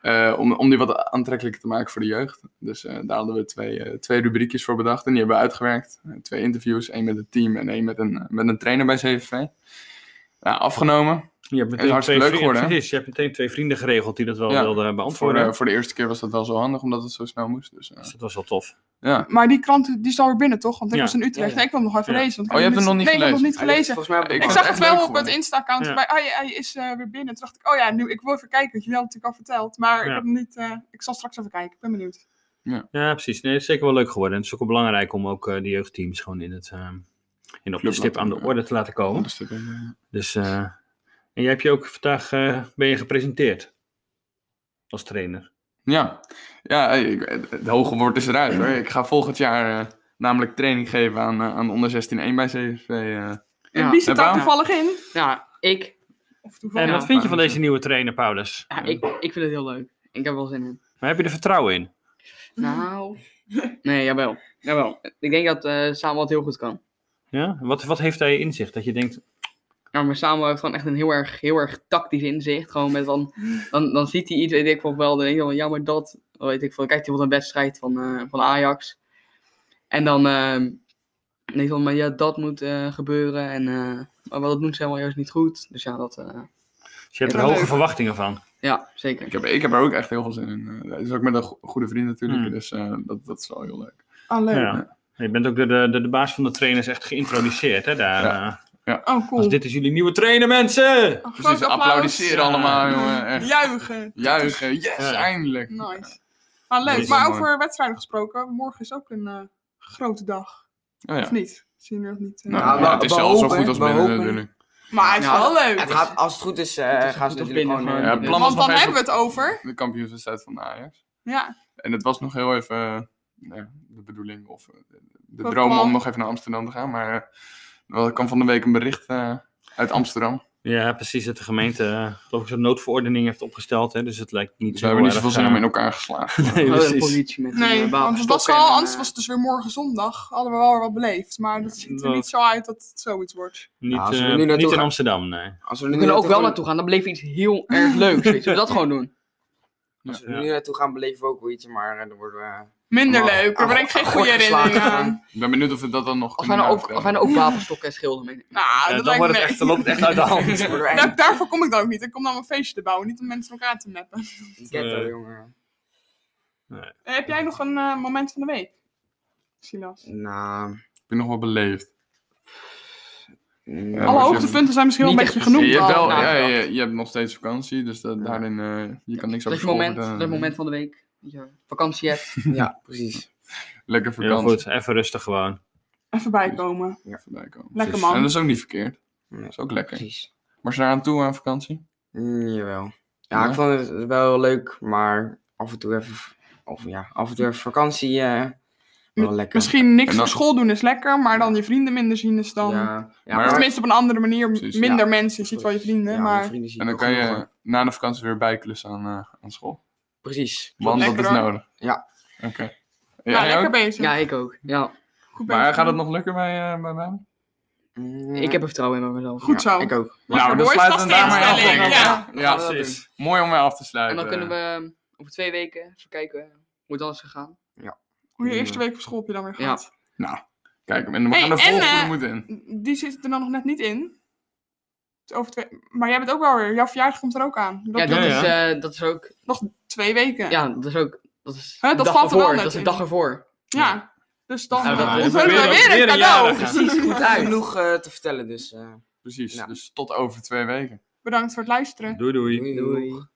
[SPEAKER 1] eh, om, om die wat aantrekkelijker te maken voor de jeugd. Dus eh, daar hadden we twee, eh, twee rubriekjes voor bedacht. En die hebben we uitgewerkt. Eh, twee interviews, één met het team en één met een, eh, met een trainer bij CVV. Nou, afgenomen.
[SPEAKER 5] Je hebt meteen,
[SPEAKER 1] hartstikke
[SPEAKER 5] twee
[SPEAKER 1] leuk
[SPEAKER 5] vrienden,
[SPEAKER 1] geworden, hè?
[SPEAKER 5] precies, je hebt meteen twee vrienden geregeld die dat wel
[SPEAKER 1] Ja,
[SPEAKER 5] wilden
[SPEAKER 1] Voor,
[SPEAKER 5] beantwoorden.
[SPEAKER 1] eh, voor de eerste keer was dat wel zo handig, omdat het zo snel moest. Dus, eh,
[SPEAKER 5] dus dat was wel tof.
[SPEAKER 1] ja.
[SPEAKER 3] Maar die krant die is alweer binnen, toch? Want ik
[SPEAKER 5] Ja.
[SPEAKER 3] was in Utrecht.
[SPEAKER 2] Ja.
[SPEAKER 3] Nee, ik wil hem nog even
[SPEAKER 5] Ja.
[SPEAKER 3] lezen. want ik
[SPEAKER 1] Oh, je
[SPEAKER 3] heb
[SPEAKER 1] hebt hem nog niet
[SPEAKER 3] Nee, ik heb hem nog niet
[SPEAKER 2] Hij ligt
[SPEAKER 3] gelezen.
[SPEAKER 2] volgens mij op de
[SPEAKER 1] Ik
[SPEAKER 3] Ik
[SPEAKER 2] bank.
[SPEAKER 1] vond het
[SPEAKER 3] zag het
[SPEAKER 1] echt
[SPEAKER 3] wel
[SPEAKER 1] leuk
[SPEAKER 3] op het
[SPEAKER 1] geworden.
[SPEAKER 3] Insta-account.
[SPEAKER 5] Ja.
[SPEAKER 3] Bij, oh, hij, hij is eh, weer binnen. Toen dacht ik, oh ja, nu, ik wil even kijken. Want jullie hadden het natuurlijk al verteld. Maar
[SPEAKER 5] Ja.
[SPEAKER 3] ik, heb hem niet, eh, ik zal straks even kijken. Ik ben benieuwd.
[SPEAKER 5] Ja, precies. Nee, het is zeker wel leuk geworden. En het is ook wel belangrijk om ook eh, de jeugdteams gewoon in het eh, in op de
[SPEAKER 1] Club
[SPEAKER 5] stip aan de
[SPEAKER 1] laten-
[SPEAKER 5] orde te laten
[SPEAKER 1] Op
[SPEAKER 5] komen.
[SPEAKER 1] de stip, eh,
[SPEAKER 5] Dus, eh, en jij hebt je ook vandaag eh, ben je gepresenteerd als trainer.
[SPEAKER 1] Ja, ja hey, ik- het het hoge woord is eruit hoor. Ik ga volgend jaar eh, namelijk training geven aan, eh, aan onder 16-1 bij CSV. eh.
[SPEAKER 4] Ja.
[SPEAKER 3] En Wie zit
[SPEAKER 1] Ja,
[SPEAKER 3] daar
[SPEAKER 1] Baan.
[SPEAKER 3] toevallig in?
[SPEAKER 4] Ja, ik,
[SPEAKER 3] Of toevallig.
[SPEAKER 5] En
[SPEAKER 4] Ja.
[SPEAKER 5] wat vind je van deze nieuwe trainer, Paulus?
[SPEAKER 4] ja, ik, ik vind het heel leuk. Ik heb er wel zin in.
[SPEAKER 5] Maar heb je er vertrouwen in?
[SPEAKER 4] Nou. Nee, jawel. jawel. Ik denk dat eh Samuel het heel goed kan.
[SPEAKER 5] Ja? Wat, wat heeft hij in zich? Dat je denkt,
[SPEAKER 4] Ja, Nou, maar Samuel heeft gewoon echt een heel erg, heel erg tactisch inzicht. Gewoon met dan, dan, dan ziet hij iets, weet ik veel, wel, dan denk je van, ja, maar dat, Wel, weet ik veel. Kijkt hij wat een wedstrijd van, eh, van Ajax. En dan ehm, denk je van, maar ja, dat moet eh, gebeuren. En, eh, maar wat dat doen ze helemaal juist niet goed. Dus ja, dat, eh,
[SPEAKER 5] je hebt
[SPEAKER 3] Ja,
[SPEAKER 5] er
[SPEAKER 3] nou,
[SPEAKER 5] hoge
[SPEAKER 3] leuk.
[SPEAKER 5] verwachtingen van.
[SPEAKER 4] ja, zeker.
[SPEAKER 1] Ik, heb, ik heb er ook echt heel veel zin in. Eh, Het is ook met een go- goede vriend natuurlijk,
[SPEAKER 5] Mm.
[SPEAKER 1] dus eh, dat, dat is wel heel leuk.
[SPEAKER 3] Oh, leuk.
[SPEAKER 5] eh, Ja. Je bent ook door de, door de baas van de trainers echt geïntroduceerd, hè, daar.
[SPEAKER 1] Ja.
[SPEAKER 5] eh.
[SPEAKER 3] Oh, cool.
[SPEAKER 5] Dus dit is jullie nieuwe trainer, mensen!
[SPEAKER 1] Precies,
[SPEAKER 3] Oh, groot applaus.
[SPEAKER 1] applaudisseren allemaal jongen. Echt.
[SPEAKER 3] Juichen.
[SPEAKER 1] Juichen, yes,
[SPEAKER 5] Ja.
[SPEAKER 1] eindelijk.
[SPEAKER 3] Nice. Ah,
[SPEAKER 1] Dat
[SPEAKER 3] leuk.
[SPEAKER 1] is
[SPEAKER 3] Maar
[SPEAKER 1] wel
[SPEAKER 3] over wedstrijden gesproken. Morgen is ook een eh, grote dag.
[SPEAKER 1] Oh, ja.
[SPEAKER 3] Of niet? Zien we dat niet? eh?
[SPEAKER 1] Nou,
[SPEAKER 2] Nou,
[SPEAKER 1] ja,
[SPEAKER 2] we-
[SPEAKER 1] het is
[SPEAKER 2] we
[SPEAKER 1] zelfs zo
[SPEAKER 2] hopen,
[SPEAKER 1] goed als
[SPEAKER 2] we
[SPEAKER 1] binnen
[SPEAKER 2] hopen.
[SPEAKER 1] natuurlijk.
[SPEAKER 3] Maar het is
[SPEAKER 4] Ja,
[SPEAKER 3] wel leuk.
[SPEAKER 2] Het gaat, als het goed is, eh,
[SPEAKER 4] Het
[SPEAKER 2] gaan ze
[SPEAKER 4] is goed of
[SPEAKER 2] natuurlijk
[SPEAKER 4] binnen,
[SPEAKER 2] gewoon...
[SPEAKER 4] maar-
[SPEAKER 2] eh,
[SPEAKER 1] Ja, plan was
[SPEAKER 3] Want
[SPEAKER 1] nog
[SPEAKER 3] dan
[SPEAKER 1] even
[SPEAKER 3] hebben we het over.
[SPEAKER 1] de kampioenswedstrijd van Ajax.
[SPEAKER 3] Ja.
[SPEAKER 1] En het was nog heel even eh, nou ja, de bedoeling of eh, de
[SPEAKER 3] Wat
[SPEAKER 1] droom
[SPEAKER 3] plan?
[SPEAKER 1] om nog even naar Amsterdam te gaan. Maar eh, wel, ik kwam van de week een bericht eh, uit Amsterdam. Dus
[SPEAKER 5] Ja, precies. Dat de gemeente, eh, geloof ik, zo'n noodverordening heeft opgesteld. Hè, dus het lijkt niet
[SPEAKER 1] Dus
[SPEAKER 5] zo
[SPEAKER 1] we hebben niet
[SPEAKER 5] erg,
[SPEAKER 1] zoveel zin om
[SPEAKER 5] eh,
[SPEAKER 1] in elkaar geslagen.
[SPEAKER 5] nee,
[SPEAKER 4] Gewoon een
[SPEAKER 5] precies.
[SPEAKER 4] positie met
[SPEAKER 3] Nee,
[SPEAKER 4] een, eh,
[SPEAKER 3] want het was
[SPEAKER 4] stokken
[SPEAKER 3] wel,
[SPEAKER 4] en,
[SPEAKER 3] anders
[SPEAKER 4] eh,
[SPEAKER 3] was het dus weer morgen zondag. Hadden we wel weer wat beleefd. Maar dat ziet er
[SPEAKER 5] dat-
[SPEAKER 3] niet zo uit dat het zoiets wordt.
[SPEAKER 5] Niet,
[SPEAKER 2] Nou, als we
[SPEAKER 5] eh,
[SPEAKER 2] nu naartoe
[SPEAKER 5] niet in
[SPEAKER 2] gaan-
[SPEAKER 5] Amsterdam, nee.
[SPEAKER 2] Als we er
[SPEAKER 4] We
[SPEAKER 2] nu
[SPEAKER 4] kunnen ook wel
[SPEAKER 2] naartoe
[SPEAKER 4] naartoe gaan, dan bleef iets heel erg leuks. Weet je. Zullen we dat gewoon doen?
[SPEAKER 2] gaan- Als we
[SPEAKER 5] Ja.
[SPEAKER 2] er nu naartoe gaan, beleven we ook wel iets, maar eh, dan worden we...
[SPEAKER 3] Minder
[SPEAKER 2] Maar-
[SPEAKER 3] leuk. Er
[SPEAKER 2] Ah,
[SPEAKER 3] brengt geen
[SPEAKER 2] ah,
[SPEAKER 3] goede
[SPEAKER 2] gort geslagen.
[SPEAKER 3] herinneringen aan.
[SPEAKER 1] Ik ben benieuwd of we dat dan nog
[SPEAKER 4] Als wij nou ook, als wij
[SPEAKER 1] uitstellen.
[SPEAKER 4] nou ook wapenstokken en schilden meenemen.
[SPEAKER 3] Nou,
[SPEAKER 5] Eh,
[SPEAKER 3] dat
[SPEAKER 5] dan,
[SPEAKER 3] lijkt
[SPEAKER 5] wordt
[SPEAKER 3] me
[SPEAKER 5] het echt, dan loopt het echt uit de hand.
[SPEAKER 2] Dan worden we
[SPEAKER 3] Daar-
[SPEAKER 2] echt
[SPEAKER 3] daarvoor kom ik dan ook niet. Ik kom dan een feestje te bouwen, niet om mensen elkaar te mappen.
[SPEAKER 2] ghetto,
[SPEAKER 5] Eh.
[SPEAKER 2] jongen.
[SPEAKER 3] heb jij nog een eh, moment van de week? Silas.
[SPEAKER 2] Nou...
[SPEAKER 1] Heb je nog wel beleefd?
[SPEAKER 2] mm,
[SPEAKER 1] Ja,
[SPEAKER 3] Alle
[SPEAKER 1] maar-
[SPEAKER 3] hoogtepunten zijn misschien wel een
[SPEAKER 4] Niet
[SPEAKER 3] beetje
[SPEAKER 4] echt
[SPEAKER 3] genoemd.
[SPEAKER 4] Noem
[SPEAKER 1] je, hebt
[SPEAKER 4] wel
[SPEAKER 1] wel,
[SPEAKER 4] een
[SPEAKER 1] ja,
[SPEAKER 4] naam.
[SPEAKER 1] je, je hebt nog steeds vakantie, dus da- daarin eh, je kan niks
[SPEAKER 4] Dat
[SPEAKER 1] over
[SPEAKER 4] is het moment, dat
[SPEAKER 1] vervolgen,
[SPEAKER 4] is
[SPEAKER 1] eh,
[SPEAKER 4] het moment van de week. Dat je vakantie hebt.
[SPEAKER 2] Ja, precies.
[SPEAKER 1] Lekker
[SPEAKER 5] Heel
[SPEAKER 1] vakantie.
[SPEAKER 5] goed, even rustig gewoon.
[SPEAKER 3] Even bijkomen.
[SPEAKER 1] Voorbij komen.
[SPEAKER 3] Lekker
[SPEAKER 1] En dat
[SPEAKER 3] man.
[SPEAKER 1] is ook niet verkeerd.
[SPEAKER 2] Nee.
[SPEAKER 1] Dat is ook lekker.
[SPEAKER 2] Precies.
[SPEAKER 1] Maar ze naar aan toe aan vakantie?
[SPEAKER 2] Mm, jawel. Ja,
[SPEAKER 1] Ja?
[SPEAKER 2] ik vond het wel heel leuk, maar af en toe even, of ja, af en toe even vakantie, eh wel
[SPEAKER 3] Mi-
[SPEAKER 2] lekker.
[SPEAKER 3] Misschien niks
[SPEAKER 1] En dan-
[SPEAKER 3] op school doen is lekker, maar dan je vrienden minder zien is dan...
[SPEAKER 2] Ja, ja,
[SPEAKER 1] Maar-
[SPEAKER 3] Tenminste op een andere manier.
[SPEAKER 1] Precies.
[SPEAKER 3] minder
[SPEAKER 2] Ja.
[SPEAKER 3] mensen. Je ziet wel je vrienden,
[SPEAKER 2] ja,
[SPEAKER 3] maar...
[SPEAKER 2] mijn vrienden zie
[SPEAKER 1] En dan
[SPEAKER 2] ik
[SPEAKER 1] kan
[SPEAKER 2] wel genoeg,
[SPEAKER 1] je
[SPEAKER 2] hoor.
[SPEAKER 1] na de vakantie weer bijklussen aan, eh, aan school.
[SPEAKER 2] Precies.
[SPEAKER 1] Want dat
[SPEAKER 3] Lekker
[SPEAKER 1] is
[SPEAKER 3] hoor.
[SPEAKER 1] nodig.
[SPEAKER 2] Ja.
[SPEAKER 1] Oké.
[SPEAKER 3] Ja,
[SPEAKER 1] Jij ook?
[SPEAKER 3] lekker bezig.
[SPEAKER 4] Ja, ik ook. Ja.
[SPEAKER 3] Goed bezig.
[SPEAKER 1] Maar gaat het nog lukken bij, eh bij mij?
[SPEAKER 4] Ik heb er vertrouwen in bij mezelf.
[SPEAKER 3] Goed zo.
[SPEAKER 2] Ik ook.
[SPEAKER 1] Nou, dan
[SPEAKER 3] Mooi
[SPEAKER 1] sluiten we
[SPEAKER 3] vast
[SPEAKER 1] daarmee af.
[SPEAKER 3] instelling,
[SPEAKER 1] denk ik.
[SPEAKER 3] ja.
[SPEAKER 1] Ja,
[SPEAKER 5] Precies.
[SPEAKER 1] precies. Mooi om mee af te
[SPEAKER 4] En
[SPEAKER 1] sluiten.
[SPEAKER 4] dan kunnen we eh, over twee weken even kijken hoe het dan is gegaan.
[SPEAKER 3] Hoe je eerste week op school heb je dan weer
[SPEAKER 4] Ja.
[SPEAKER 3] gehad.
[SPEAKER 1] Nou, kijk, en we gaan
[SPEAKER 3] Hey,
[SPEAKER 1] er
[SPEAKER 3] en,
[SPEAKER 1] volgende
[SPEAKER 3] eh,
[SPEAKER 1] moet in.
[SPEAKER 3] Die zit er dan nog net niet in. Het is Over twee... Maar jij bent ook wel weer. Jouw verjaardag komt er ook aan. Dat
[SPEAKER 4] ja, dat,
[SPEAKER 5] ja,
[SPEAKER 4] Is, eh, dat is ook.
[SPEAKER 3] nog twee weken.
[SPEAKER 4] Ja, dat is ook. Dat is
[SPEAKER 3] Hè,
[SPEAKER 4] de
[SPEAKER 3] dat
[SPEAKER 4] dag
[SPEAKER 3] valt er wel
[SPEAKER 4] ervoor.
[SPEAKER 3] net
[SPEAKER 4] Dat is
[SPEAKER 3] in.
[SPEAKER 4] de dag ervoor.
[SPEAKER 3] Ja. Dus dan
[SPEAKER 4] Nou, dat
[SPEAKER 3] onthullen
[SPEAKER 4] is weer-
[SPEAKER 3] we weer,
[SPEAKER 5] weer
[SPEAKER 3] een
[SPEAKER 5] een
[SPEAKER 3] cadeau.
[SPEAKER 5] jarige.
[SPEAKER 2] Goed uit. Genoeg eh, te vertellen, dus. eh,
[SPEAKER 1] Precies,
[SPEAKER 2] Ja.
[SPEAKER 1] dus tot over twee weken.
[SPEAKER 3] Bedankt voor het luisteren.
[SPEAKER 5] Doei doei.
[SPEAKER 2] doei.
[SPEAKER 4] Doei.